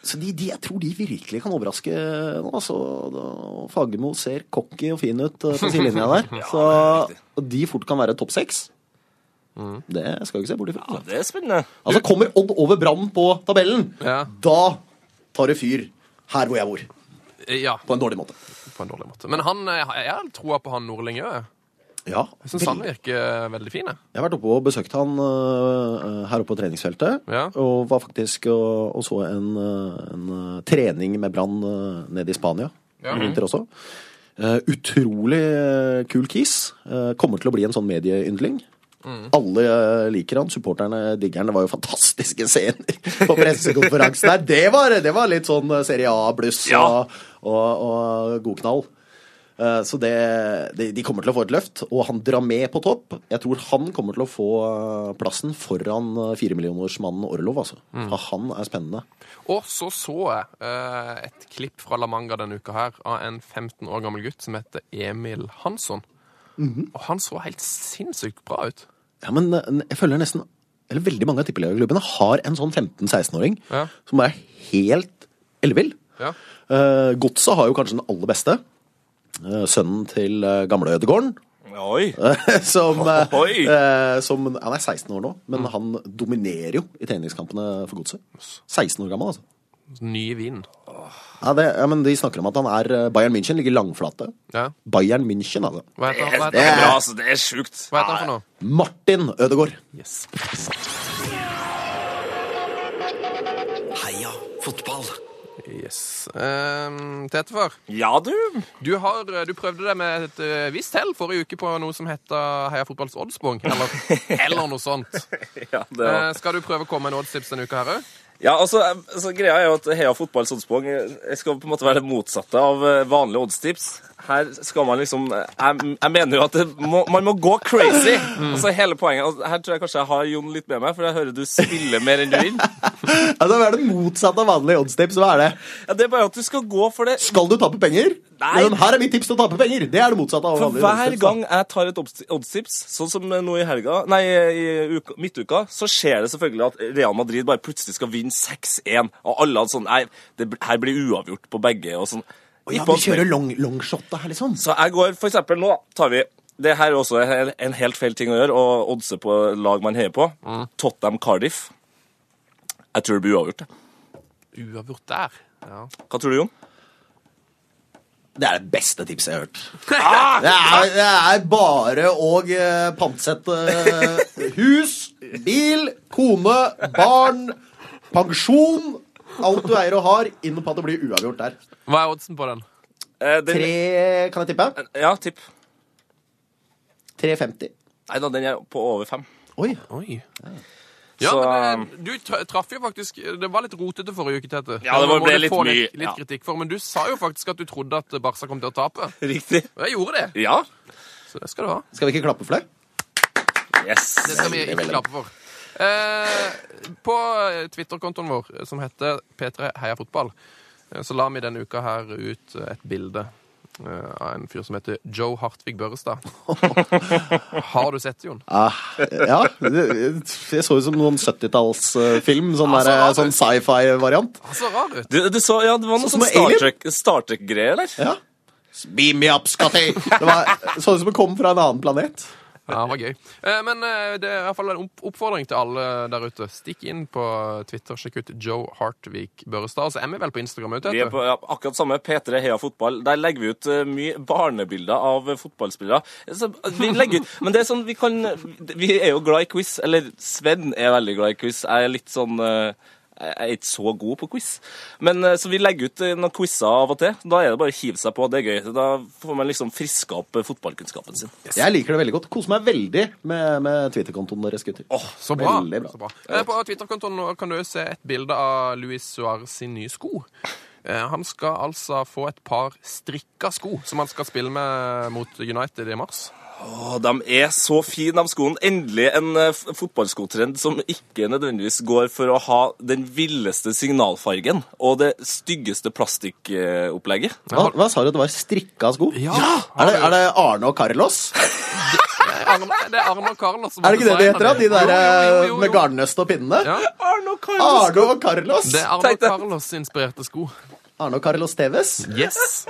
Speaker 5: så de, de, jeg tror de virkelig kan overraske nå. Altså, Da- Fagermo ser cocky og fin ut eh, på sidelinja der. Så og de fort kan være topp seks. Det skal vi ikke se bort ifra.
Speaker 4: Det er spennende.
Speaker 5: Altså, kommer Odd over Brann på tabellen,
Speaker 3: Ja.
Speaker 5: da tar det fyr her hvor jeg bor.
Speaker 3: Eh, Ja,
Speaker 5: På en dårlig måte.
Speaker 3: på en dårlig måte. Men han, eh, jeg har troa på han Nordling òg.
Speaker 5: Ja,
Speaker 3: Jeg syns han virker eh, veldig fin. jeg.
Speaker 5: Jeg har vært oppe og besøkt han øh, her oppe på treningsfeltet.
Speaker 3: Ja.
Speaker 5: Og var faktisk og, og så en, øh, en øh, trening med Brann øh, nede i Spania i vinter også. Eh, utrolig øh, kul kis. Eh, kommer til å bli en sånn medieyndling. Alle øh, liker han. Supporterne digger han. Det var jo fantastiske scener på pressekonferansen der. Det var, det var litt sånn øh, Serie A-bluss og, og, og god knall. Eh, Så det, de, de kommer til å få et løft, og han drar med på topp. Jeg tror han kommer til å få eh, plassen foran eh, firemillionersmannen Orlov, altså.
Speaker 3: Mm.
Speaker 5: For han er spennende.
Speaker 3: Og så så jeg eh, et klipp fra La Manga denne uka her av en 15 år gammel gutt som heter Emil Hansson.
Speaker 4: Mhm.
Speaker 3: Og han så helt sinnssykt bra ut.
Speaker 5: Ja, men eh, jeg føler nesten Eller veldig mange av tippeligaklubbene har en sånn 15-16-åring
Speaker 3: Ja.
Speaker 5: som er helt ellevill.
Speaker 3: Ja.
Speaker 5: Eh, Godset har jo kanskje den aller beste. Eh, Sønnen til eh, gamle Ødegården.
Speaker 4: Oi.
Speaker 5: som, eh,
Speaker 4: Oi!
Speaker 5: eh, som Han er 16 år nå, men han dominerer jo i treningskampene for Godset. 16 år gammel, altså.
Speaker 3: Nye vinen.
Speaker 5: Ja, det, ja, men De snakker om at han er eh, Bayern München ligger langflate.
Speaker 3: Ja.
Speaker 5: Bayern München, altså.
Speaker 3: Hva heter han, hva
Speaker 4: Det
Speaker 3: heter
Speaker 4: er
Speaker 3: han,
Speaker 4: bra, altså. Det er sjukt.
Speaker 3: hva heter han for noe?
Speaker 5: Martin Ødegaard.
Speaker 3: Yes.
Speaker 2: Heia fotball.
Speaker 3: yes. Um, Tetefar,
Speaker 4: Ja, du.
Speaker 3: du, har- eh, du prøvde deg med et eh, visst hell forrige uke på noe som heter Heia fotballs oddsbong, eller, eller noe sånt.
Speaker 4: Ja, det
Speaker 3: Eh, skal du prøve å komme med en oddstips denne uka her òg?
Speaker 4: Ja, altså, eh, altså, greia er jo at Heia fotball Sondsprang eh, skal på en måte være det motsatte av eh, vanlige oddstips. Her skal man liksom eh, Jeg, jeg mener jo at det må, man må gå crazy!
Speaker 5: Mm.
Speaker 4: Altså, hele poenget altså, Her tror jeg kanskje jeg har Jon litt med meg, for jeg hører du spiller mer enn du vil.
Speaker 5: Altså, Hva er det motsatte av vanlige oddstips? Hva er det?
Speaker 4: Ja, det er bare at du skal gå for det.
Speaker 5: Skal du tape penger?
Speaker 4: Nei.
Speaker 5: Men her er mitt tips til å tape penger! Det er det motsatte av
Speaker 4: For
Speaker 5: vanlige
Speaker 4: hver
Speaker 5: oddstips. da.
Speaker 4: gang jeg tar et obs- oddstips, sånn som eh, nå i helga, nei, i uka, midtuka, så skjer det selvfølgelig at Real Madrid bare plutselig skal vinne 6-1, og alle hadde sånn Nei, det, bl- her blir uavgjort på begge, og sånn.
Speaker 5: Å ja,
Speaker 4: Gikk på
Speaker 5: vi kjører long, longshot her, liksom.
Speaker 4: Så jeg går, for eksempel nå tar vi Det her er også en, en helt feil ting å gjøre, og oddse på lag man heier på.
Speaker 3: Mm.
Speaker 4: Tottenham Cardiff. Jeg tror det blir uavgjort. det.
Speaker 3: Uavgjort der. Ja.
Speaker 4: Hva tror du, Jon?
Speaker 5: Det er det beste tipset jeg har hørt. Det er, det er bare å eh, pantsette eh, hus, bil, kone, barn, pensjon Alt du eier og har, inn på at det blir uavgjort der.
Speaker 3: Hva er oddsen på den?
Speaker 4: Eh, den-
Speaker 5: Tre, kan jeg tippe?
Speaker 4: Ja, tipp.
Speaker 5: 3,50.
Speaker 4: Nei da, den er på over fem.
Speaker 5: Oi.
Speaker 3: Oi. Ja,
Speaker 4: Så,
Speaker 3: men eh, du tra- traff jo faktisk Det var litt rotete forrige uke, Tete.
Speaker 4: Ja, det var-
Speaker 3: må
Speaker 4: ble
Speaker 3: du
Speaker 4: litt
Speaker 3: få
Speaker 4: mye,
Speaker 3: Litt, litt
Speaker 4: ja.
Speaker 3: kritikk for, men du sa jo faktisk at du trodde at Barca kom til å tape.
Speaker 4: Riktig.
Speaker 3: Og jeg gjorde det.
Speaker 4: Ja.
Speaker 3: Så det skal du ha.
Speaker 5: Skal vi ikke klappe for det?
Speaker 4: Yes.
Speaker 3: Det skal vi ikke klappe for. Eh, på Twitter-kontoen vår, eh, som heter P3 Heia Fotball, eh, så la vi denne uka her ut eh, et bilde eh, av en fyr som heter Joe Hartvig Børrestad. Har du sett det, Jon?
Speaker 5: Ah, ja. det- Jeg så ut som noen 70-tallsfilm. Sånn,
Speaker 3: Altså,
Speaker 5: der,
Speaker 3: altså.
Speaker 5: sånn sci-fi-variant.
Speaker 3: Han så rar ut.
Speaker 4: Du, du så, ja, det var noe
Speaker 5: Sånn
Speaker 4: sånn
Speaker 5: som Alien?
Speaker 4: Star Trek- Star Trek-greier, eller?
Speaker 5: Ja. Beam me up, Scotty! Det var, så ut som det kom fra en annen planet.
Speaker 3: Ja, det var gøy. Eh, Men eh, det er i hvert fall en opp- oppfordring til alle der ute. Stikk inn på Twitter, sjekk ut Joe Hartvig Børrestad. Og Så er vi vel på Instagram òg,
Speaker 4: Vi er på
Speaker 3: Tete?
Speaker 4: ja, akkurat samme P3 Heia Fotball. Der legger vi ut eh, mye barnebilder av eh, fotballspillere. Så, eh, vi legger ut, men det er sånn, vi kan Vi er jo glad i quiz. Eller Sven er veldig glad i quiz. Jeg er litt sånn eh, jeg er ikke så god på quiz, men eh, så vi legger ut eh, noen quizer av og til. Da er det bare å hive seg på. Det er gøy. Da får man liksom friska opp eh, fotballkunnskapen sin.
Speaker 5: Jeg liker det veldig godt. Koser meg veldig med, med Twitter-kontoen deres, gutter.
Speaker 3: Så bra.
Speaker 5: Veldig bra.
Speaker 3: Så bra. Eh, På Twitter-kontoen nå kan du også se et bilde av Luis Suárez sin nye sko. Eh, Han skal altså få et par strikka sko som han skal spille med mot United i mars.
Speaker 4: Å, de er så fine, de skoene. Endelig en eh, f- fotballskotrend som ikke nødvendigvis går for å ha den villeste signalfargen og det styggeste plastikkopplegget.
Speaker 5: Hva, hva sa du at det var? Strikka sko?
Speaker 3: Ja!
Speaker 5: Er det, er det Arne og Carlos?
Speaker 3: Arne, det er Arne og Carlos som
Speaker 5: Er det ikke det de heter, da? De der eh,
Speaker 3: Jo, jo, jo, jo, jo.
Speaker 5: med garnnøst og pinnene?
Speaker 3: Ja.
Speaker 4: Arno Carlos!
Speaker 5: Arne og Carlos?
Speaker 3: Det er Arne og Carlos-inspirerte sko.
Speaker 5: Arne og Carlos Teves?
Speaker 3: Yes!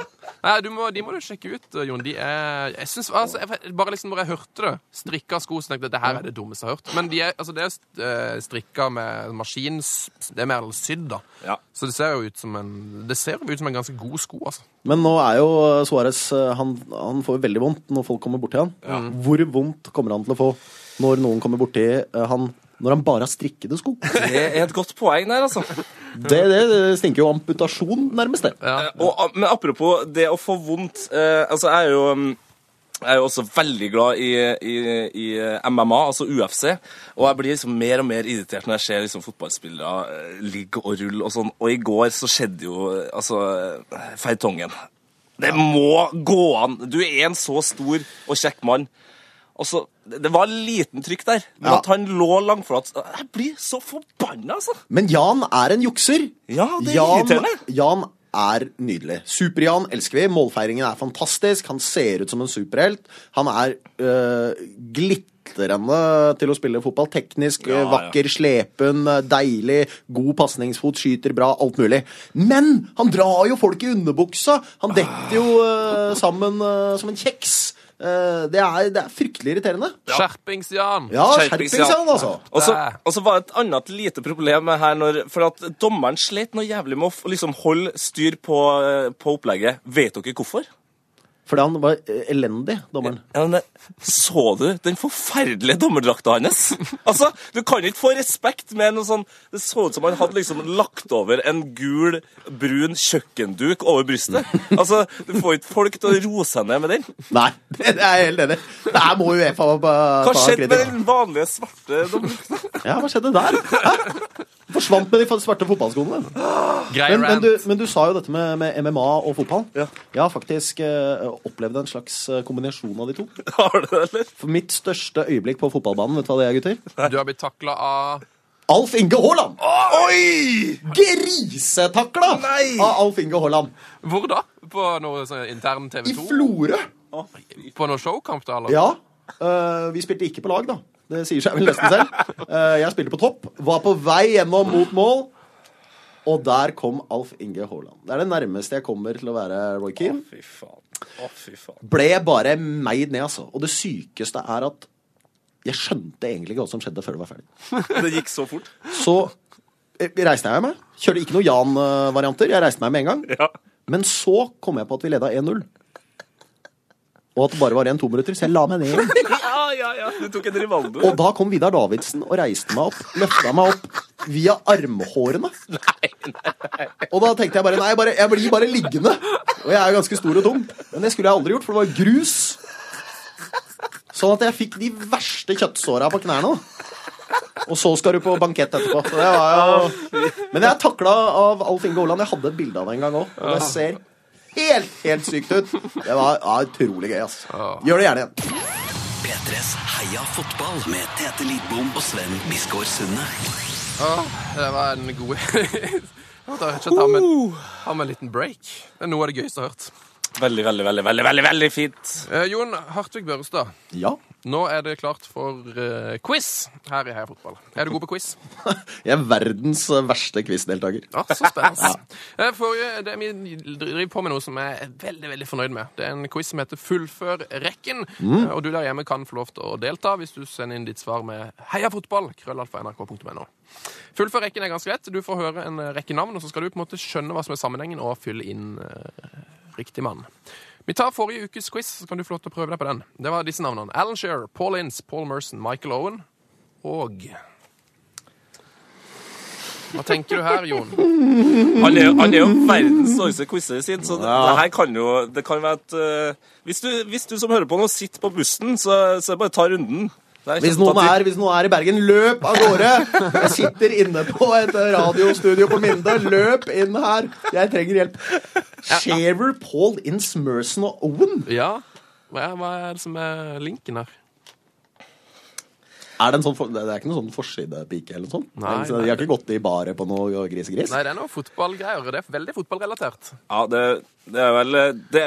Speaker 3: Nei, du må, de må du sjekke ut, Jon. De er jeg synes, altså, jeg, Bare liksom når jeg hørte det, strikka sko, så tenkte jeg dette her er det dummeste jeg har hørt. Men de er, altså, det er eh, strikka med maskin Det er mer eller sydd, da.
Speaker 4: Ja.
Speaker 3: Så det ser jo ut som en Det ser jo ut som en ganske god sko, altså.
Speaker 5: Men nå er jo Suárez eh, han, han får veldig vondt når folk kommer borti han. Hvor vondt kommer han til å få når noen kommer borti eh, han når han bare har strikkede sko? Det,
Speaker 4: Det er et godt poeng der, altså.
Speaker 5: det, det stinker jo amputasjon, nærmest. det.
Speaker 3: Ja.
Speaker 4: Eh, Og, a- men apropos det å få vondt eh, Altså, jeg er jo mm, jeg er jo også veldig glad i, i, i MMA, altså UFC. Og jeg blir liksom mer og mer irritert når jeg ser liksom fotballspillere eh, ligge og rulle og sånn. Og i går så skjedde jo eh, altså eh, feitongen. Det må gå an! Du er en så stor og kjekk mann. Og så, det det var liten trykk der, men
Speaker 5: Ja.
Speaker 4: at han lå langflat Jeg blir så forbanna, altså!
Speaker 5: Men Jan er en jukser.
Speaker 4: Ja, det er
Speaker 5: Jan,
Speaker 4: irriterende.
Speaker 5: Jan er nydelig. Super-Jan elsker vi. Målfeiringen er fantastisk. Han ser ut som en superhelt. Han er øh, glitrende til å spille fotball. Teknisk, øh,
Speaker 4: Ja, ja.
Speaker 5: vakker, slepen, øh, deilig, god pasningsfot, skyter bra, alt mulig. Men han drar jo folk i underbuksa! Han detter jo
Speaker 4: Ah.
Speaker 5: øh, sammen øh, som en kjeks. Eh, det, er, det er fryktelig irriterende.
Speaker 3: Skjerpings, Jan!
Speaker 5: Ja,
Speaker 4: Skjerpings,
Speaker 5: skjerpings,
Speaker 4: ja.
Speaker 5: Jan, altså.
Speaker 4: Og så,
Speaker 3: Det-
Speaker 4: og så var det et annet lite problem med her, når, for at dommeren slet noe jævlig med å f- liksom holde styr på, eh, på opplegget. Vet dere hvorfor?
Speaker 5: Fordi han var øh, elendig, dommeren.
Speaker 4: Ja, men, så du den forferdelige dommerdrakta hans? Altså, Du kan ikke få respekt med noe sånn Det så ut som han hadde liksom lagt over en gul, brun kjøkkenduk over brystet. Altså, Du får ikke folk til å roe seg ned med den.
Speaker 5: Nei, det er jeg helt enig. i. Der må Uefa ta
Speaker 4: Hva skjedde
Speaker 5: kritikk.
Speaker 4: med den vanlige svarte dommerdrakta?
Speaker 5: Ja, hva skjedde der? Hæ? Forsvant med de svarte fotballskoene.
Speaker 3: Grei
Speaker 5: Men, men,
Speaker 3: rant.
Speaker 5: du, men du sa jo dette med, med MMA og fotball.
Speaker 4: Ja.
Speaker 5: Jeg har faktisk eh, opplevd en slags eh, kombinasjon av de to.
Speaker 4: Har du det, eller?
Speaker 5: For mitt største øyeblikk på fotballbanen, vet du hva det er, gutter?
Speaker 3: Du har blitt takla av
Speaker 5: Alf Inge Haaland!
Speaker 4: Oi!
Speaker 5: Grisetakla
Speaker 4: Nei!
Speaker 5: av Alf Inge Haaland
Speaker 3: Hvor da? På noe sånn intern TV
Speaker 5: i
Speaker 3: 2?
Speaker 5: Florø.
Speaker 3: På noe showkamp, da? eller?
Speaker 5: Ja. eh, vi spilte ikke på lag, da. Det sier seg vel nesten selv. Eh, jeg spilte på topp. Var på vei gjennom mot mål. Og der kom Alf Inge Haaland. Det er det nærmeste jeg kommer til å være Roy Keane.
Speaker 4: Fy faen. Å, fy faen.
Speaker 5: Ble bare meid ned, altså. Og det sykeste er at jeg skjønte egentlig ikke hva som skjedde før det var ferdig.
Speaker 4: Det gikk så fort.
Speaker 5: Så eh, reiste jeg meg. Kjørte ikke noen Jan-varianter. Jeg reiste meg med en gang.
Speaker 4: Ja.
Speaker 5: Men så kom jeg på at vi leda 1-0. Og at det bare var igjen to minutter, så jeg la meg ned igjen.
Speaker 4: Ja, ja, ja. Du tok en Rivaldo.
Speaker 5: Og da kom Vidar Davidsen og reiste meg opp, løfta meg opp, via armhårene. Og da tenkte jeg bare nei, bare, jeg blir bare liggende. Og jeg er jo ganske stor og tung. Men det skulle jeg aldri gjort, for det var grus. Sånn at jeg fikk de verste kjøttsåra på knærne. Og så skal du på bankett etterpå. Så det var jo... Men jeg er takla av Alf Inge Haaland. Jeg hadde et bilde av det en gang òg. Og det ser helt, helt sykt ut. Det var ja, utrolig gøy, ass. Gjør det gjerne igjen.
Speaker 2: P3s Heia fotball med Tete Lidbom og Sven Biskår Sunde.
Speaker 3: Åh, det var en god Jeg måtte rett og slett ha med, ha med en liten break. Det er noe av det gøyeste jeg har hørt.
Speaker 4: Veldig, veldig, veldig, veldig, veldig, veldig fint.
Speaker 3: Eh, Jon Hartvig Børrestad,
Speaker 5: Ja.
Speaker 3: nå er det klart for eh, quiz her i Heia fotball. Er du god på quiz?
Speaker 5: Jeg er verdens verste quizdeltaker.
Speaker 3: Ja, så spennende. Eh, Forrige, det, vi driver på med noe som jeg er veldig veldig fornøyd med. Det er en quiz som heter Fullfør rekken. Eh, Og du der hjemme kan få lov til å delta hvis du sender inn ditt svar med heiafotball. krøllalfa.nrk.no. Fullfør rekken er ganske lett. Du får høre en eh, rekke navn, og så skal du på en måte skjønne hva som er sammenhengen, og fylle inn eh, riktig mann. Vi tar forrige ukes quiz, så kan du få lov til å prøve deg på den. Det var disse navnene. Alan Shearer, Paul Ince, Paul Merson, Michael Owen og Hva tenker du her, Jon?
Speaker 4: Han er, jo- han er jo verdens dårligste quizer sin, så det, det her kan jo Det kan være at eh, hvis, du, hvis du som hører på nå, sitter på bussen, så, så bare ta runden. Det er
Speaker 5: Hvis noen,
Speaker 4: kjempetaktikk.
Speaker 5: er, hvis noen er i Bergen, løp av gårde! Jeg sitter inne på et radiostudio på Minde. Løp inn her! Jeg trenger hjelp. Shaver, Paul Ince, Merson og Owen.
Speaker 3: Ja. Hva er, hva er det som er linken her?
Speaker 5: Er det, en sånn for, det er ikke noen sånn forsidepike eller noe sånt?
Speaker 3: Nei,
Speaker 5: Altså,
Speaker 3: nei.
Speaker 5: De har ikke gått i baret på noe grisegris?
Speaker 3: Nei, det er noe fotballgreier. Det er veldig fotballrelatert.
Speaker 4: Ja, det, det er vel eh, det,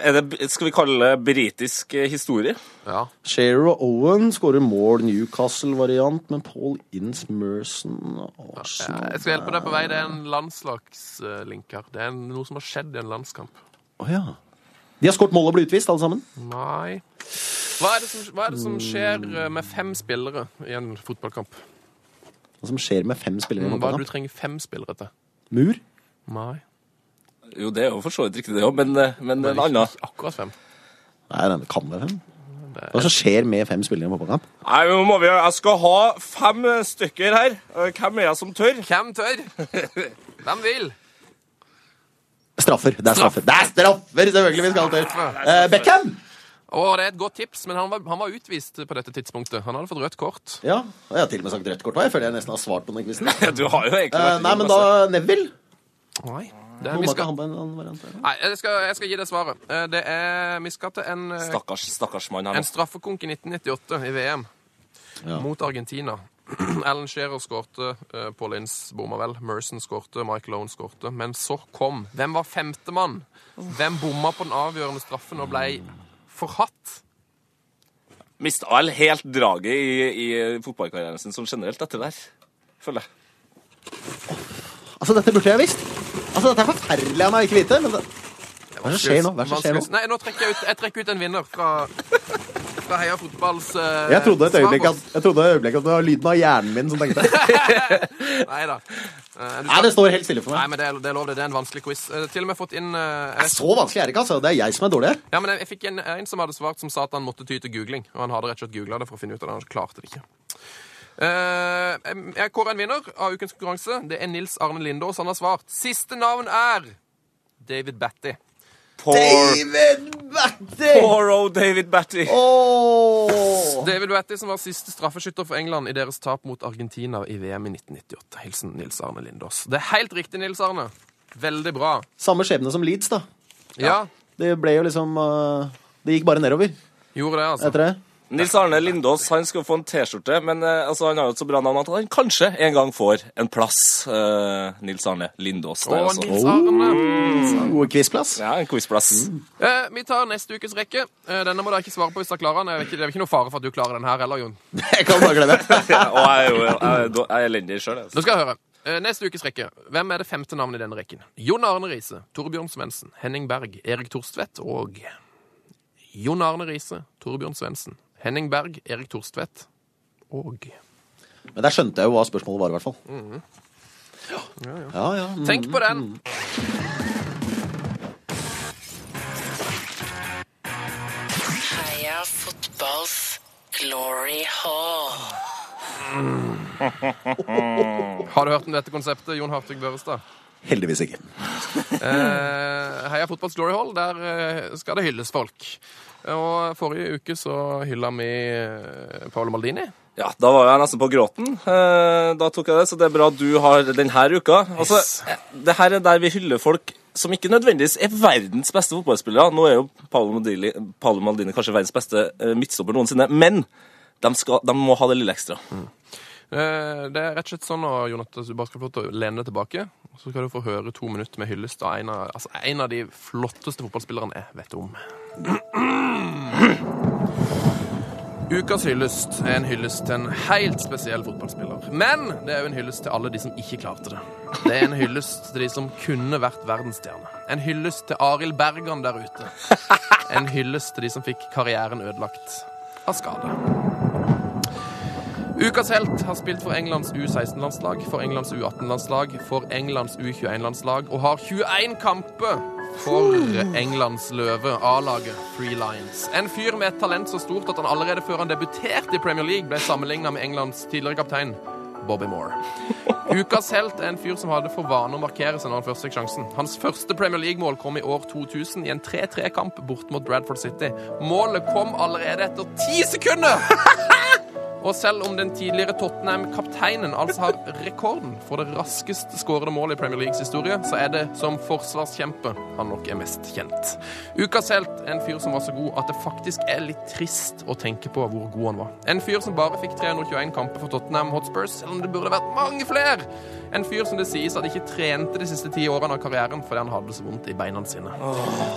Speaker 4: er det, Skal vi kalle det britisk eh, historie?
Speaker 3: Ja.
Speaker 5: Shaver og Owen skårer mål Newcastle-variant, men Paul Ince, Merson og Arsenal
Speaker 3: Jeg skal hjelpe deg på vei. Det er en landslagslink her. Det er noe som har skjedd i en landskamp.
Speaker 5: Å ja. De har skåret mål og blitt utvist, alle sammen.
Speaker 3: Nei hva er, det som, hva er det som skjer eh, med fem spillere i en fotballkamp?
Speaker 5: Hva som skjer med fem spillere i en
Speaker 3: Mm, Hva er det du
Speaker 5: fotballkamp?
Speaker 3: trenger fem spillere til?
Speaker 5: Mur?
Speaker 3: Nei.
Speaker 4: Jo, det er jo for så vidt riktig, det òg, men, eh, men en annen
Speaker 3: Ikke akkurat fem.
Speaker 5: Nei, det kan være fem. Hva som skjer med fem spillere i en fotballkamp?
Speaker 4: Nei, nå må vi Jeg skal ha fem eh, stykker her. Eh, Hvem er jeg som tør?
Speaker 3: Hvem tør? Hvem vil?
Speaker 5: Straffer. Det er straffer. Det er straffer, selvfølgelig vi skal til. Eh, Beckham!
Speaker 3: Å, det er et godt tips, men han var, han var utvist på dette tidspunktet. Han hadde fått rødt kort.
Speaker 5: Ja, og jeg har til og med sagt rødt kort. hva? Jeg føler jeg nesten har svart på den quizen. Eh,
Speaker 4: Du har jo egentlig vært
Speaker 5: Nei,
Speaker 4: innom
Speaker 5: men
Speaker 4: masse.
Speaker 5: da Neville.
Speaker 3: Nei. Det,
Speaker 5: Må
Speaker 3: vi
Speaker 5: man ikke
Speaker 3: skal,
Speaker 5: ha på en annen variant? eller?
Speaker 3: nei jeg, skal, jeg skal gi deg svaret. Eh, Det er, vi skal til en eh,
Speaker 4: Stakkars, stakkars mann her
Speaker 3: En
Speaker 4: nå.
Speaker 3: straffekonk i 1998 i VM mot Argentina. Alan Shearer skårte, eh, Paul Ince bomma vel, Merson skårte, Michael Owen skårte. Men så kom Hvem var femtemann? Hvem bomma på den avgjørende straffen og ble forhatt?
Speaker 4: Mista vel helt draget i, i fotballkarrieren sin som generelt etter det her, føler jeg.
Speaker 5: Altså, dette burde jeg visst. Altså, dette er forferdelig av meg å ikke vite. Men det... Hva er det som skjer nå? Hva er det som skjer nå?
Speaker 3: Vanskelig- Nei, nå trekker jeg ut, jeg trekker ut en vinner fra, fra Heia Fotballs eh,
Speaker 5: Jeg trodde et øyeblikk at, jeg trodde et øyeblikk at det var lyden av hjernen min som tenkte.
Speaker 3: Nei da. Eh, du
Speaker 5: Nei,
Speaker 3: skal-
Speaker 5: det står helt stille for
Speaker 3: Nei,
Speaker 5: meg.
Speaker 3: men det er, det er lov, det. Det er en vanskelig quiz. Eh, Til og med fått inn eh, jeg vet-
Speaker 5: Så vanskelig er det ikke, altså. Det er jeg som er dårlig her.
Speaker 3: Ja, men jeg, jeg fikk en, en som hadde svart som sa at han måtte ty til googling. Og han hadde rett og slett googla det for å finne ut av det. Han klarte det ikke. Eh, jeg- jeg kårer en vinner av ukens konkurranse. Det er Nils Arne Lindås. Han har svart. Siste navn er David Batty.
Speaker 4: Poor,
Speaker 5: David Batty!
Speaker 4: poor old David Batty.
Speaker 5: Åh.
Speaker 3: David Batty som var siste straffeskytter for England i deres tap mot Argentina i VM i 1998. Hilsen Nils Arne Lindås. Det er helt riktig, Nils Arne. Veldig bra.
Speaker 5: Samme skjebne som Leeds, da.
Speaker 3: Ja,
Speaker 5: Det ble jo liksom eh, Det gikk bare nedover
Speaker 3: gjorde det, altså.
Speaker 5: etter det.
Speaker 4: Nils Arne Lindås han skal få en T-skjorte, men eh, altså, han har jo et så bra navn at han kanskje en gang får en plass. eh, Nils Arne Lindås. Der,
Speaker 3: Og
Speaker 4: altså.
Speaker 3: Nils Arne.
Speaker 5: God quizplass.
Speaker 4: Ja, en quizplass.
Speaker 3: Eh, vi tar neste ukes rekke. Eh, denne må dere ikke svare på hvis dere klarer den. Jeg vet ikke- Det er vel ikke noe fare for at du klarer den her heller, Jon.
Speaker 5: Jeg kan bare glemme det.
Speaker 4: Ja, og jeg er jo jeg, er- jeg er elendig sjøl.
Speaker 3: Nå skal jeg høre. Eh, Neste ukes rekke. Hvem er det femte navnet i denne rekken? Jon Arne Riise, Torbjørn Svendsen, Henning Berg, Erik Torstvedt og Jon Arne Riise, Torbjørn Svendsen, Henning Berg, Erik Torstvedt og
Speaker 5: Men der skjønte jeg jo hva spørsmålet var, i hvert fall. Mm-hmm. Ja, ja. mm.
Speaker 3: Tenk på den!
Speaker 10: Heia fotballs glory hall.
Speaker 3: Har du hørt om dette konseptet, Jon Hartvig Børrestad?
Speaker 5: Heldigvis ikke.
Speaker 3: Eh, Heia Fotballs Glory Hall, der eh, skal det hylles folk. Og forrige uke så hylla vi eh, Paolo Maldini.
Speaker 4: Ja, da var jeg nesten på gråten. Eh, Da tok jeg det, så det er bra du har denne uka. Altså,
Speaker 3: Yes.
Speaker 4: eh, det her er der vi hyller folk som ikke nødvendigvis er verdens beste fotballspillere. Nå er jo Paolo Maldini, Paolo Maldini kanskje verdens beste eh, midtstopper noensinne, men de, skal, de må ha det lille ekstra.
Speaker 3: Eh, Det er rett og slett sånn nå, Jonathan, at du bare skal få lov til å lene deg tilbake, og så skal du få høre to minutter med hyllest av en av, altså en av de flotteste fotballspillerne jeg vet om. Ukas hyllest er en hyllest til en helt spesiell fotballspiller. Men det er jo en hyllest til alle de som ikke klarte det. Det er en hyllest til de som kunne vært verdensstjerne. En hyllest til Arild Bergan der ute. En hyllest til de som fikk karrieren ødelagt av skade. Ukas helt har spilt for Englands U16-landslag, for Englands U18-landslag, for Englands U21-landslag og har 21 kamper for Englands løve, A-laget Free Lions. En fyr med et talent så stort at han allerede før han debuterte i Premier League, ble sammenligna med Englands tidligere kaptein. Bobby Moore. Ukas helt er en fyr som hadde for vane å markere seg når han først fikk sjansen. Hans første Premier League-mål kom i år 2000 i en 3-3-kamp bort mot Bradford City. Målet kom allerede etter ti sekunder! Og selv om den tidligere Tottenham-kapteinen altså har rekorden for det raskest skårede målet i Premier Leagues historie, så er det som forsvarskjempe han nok er mest kjent. Ukas helt er en fyr som var så god at det faktisk er litt trist å tenke på hvor god han var. En fyr som bare fikk 321 kamper for Tottenham Hotspurs, selv om det burde vært mange flere. En fyr som det sies at ikke trente de siste ti årene av karrieren fordi han hadde så vondt i beina sine.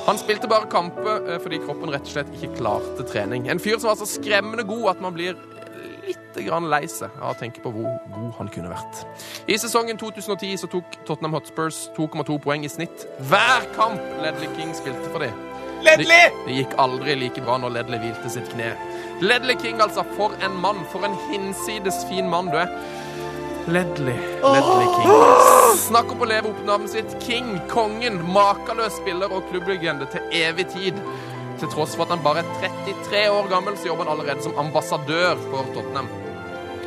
Speaker 3: Han spilte bare kamper eh, fordi kroppen rett og slett ikke klarte trening. En fyr som var så skremmende god at man blir litt grann lei seg av å tenke på hvor god han kunne vært. I sesongen 2010 så tok Tottenham Hotspurs 2,2 poeng i snitt hver kamp Ledley King spilte for dem. Ledley! Det, det gikk aldri like bra når Ledley hvilte sitt kne. Ledley King, altså. For en mann. For en hinsides fin mann du er. Ledley. Ledley King. Snakk om å leve opp navnet sitt. King, kongen, makeløs spiller og klubblegende til evig tid. Til tross for at han bare er 33 år gammel, så jobber han allerede som ambassadør for Tottenham.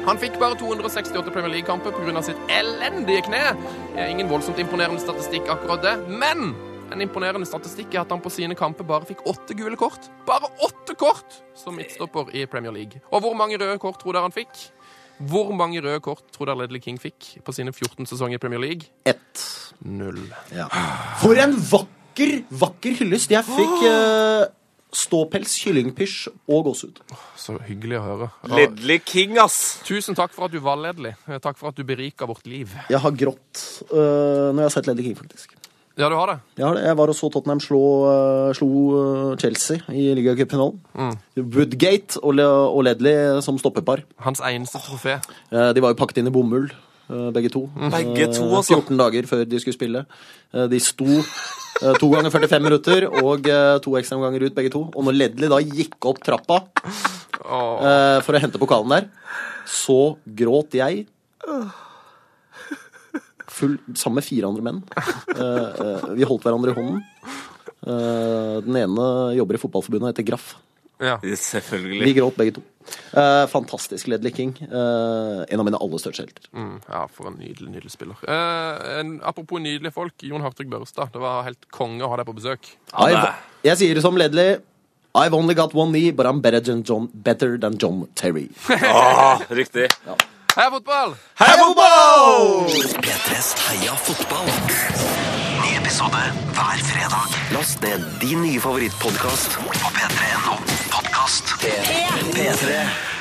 Speaker 3: Han fikk bare 268 Premier League-kamper pga. sitt elendige kne. Det er Ingen voldsomt imponerende statistikk, akkurat det. Men en imponerende statistikk er at han på sine kamper bare fikk åtte gule kort. Bare åtte kort som midtstopper i Premier League. Og hvor mange røde kort tror dere han fikk? Hvor mange røde kort tror dere Ledley King fikk på sine 14 sesonger i Premier League?
Speaker 5: Ett.
Speaker 3: Null.
Speaker 5: Ja. For en vakker, vakker hyllest! Jeg fikk eh, ståpels, kyllingpysj og gåsehud.
Speaker 3: Så hyggelig å høre. Ja,
Speaker 4: Ledley King, ass!
Speaker 3: tusen takk for at du var Ledley. Eh, Takk for at du berika vårt liv.
Speaker 5: Jeg har grått eh, når jeg har sett Lady King, faktisk.
Speaker 3: Ja, du har det?
Speaker 5: Jeg, har det. jeg var og så Tottenham slå, eh, slo eh, Chelsea i ligacupfinalen. Woodgate og, Le- og Ledley som stoppepar.
Speaker 3: Hans eneste trofé.
Speaker 5: Eh, De var jo pakket inn i bomull, eh, begge to.
Speaker 4: Begge to,
Speaker 5: Eh,
Speaker 4: altså.
Speaker 5: 14 dager før de skulle spille. Eh, De sto eh, to ganger 45 minutter og eh, to ekstraomganger ut, begge to. Og når Ledley da gikk opp trappa
Speaker 3: Åh.
Speaker 5: eh, for å hente pokalen der, så gråt jeg. Full, sammen med fire andre menn. Eh, eh, Vi holdt hverandre i hånden. Eh, Den ene jobber i Fotballforbundet og heter Graff.
Speaker 3: Ja.
Speaker 4: Selvfølgelig.
Speaker 5: Vi gråt begge to. Eh, Fantastisk Ledley King. Eh, En av mine aller største helter.
Speaker 3: Mm, ja, for en nydelig, nydelig spiller. Eh, en, apropos nydelige folk, Jon Hartvig Børstad. Det var helt konge å ha deg på besøk.
Speaker 5: I've, jeg sier det som Ledley. I've only got one knee, but I'm better than John, better than John Terry.
Speaker 4: Ah, riktig.
Speaker 3: Heia fotball!
Speaker 4: Hei, Bobo!
Speaker 2: P3s Heia fotball. Ny episode hver fredag. Last ned din nye favorittpodkast på p3.no podkast. P3.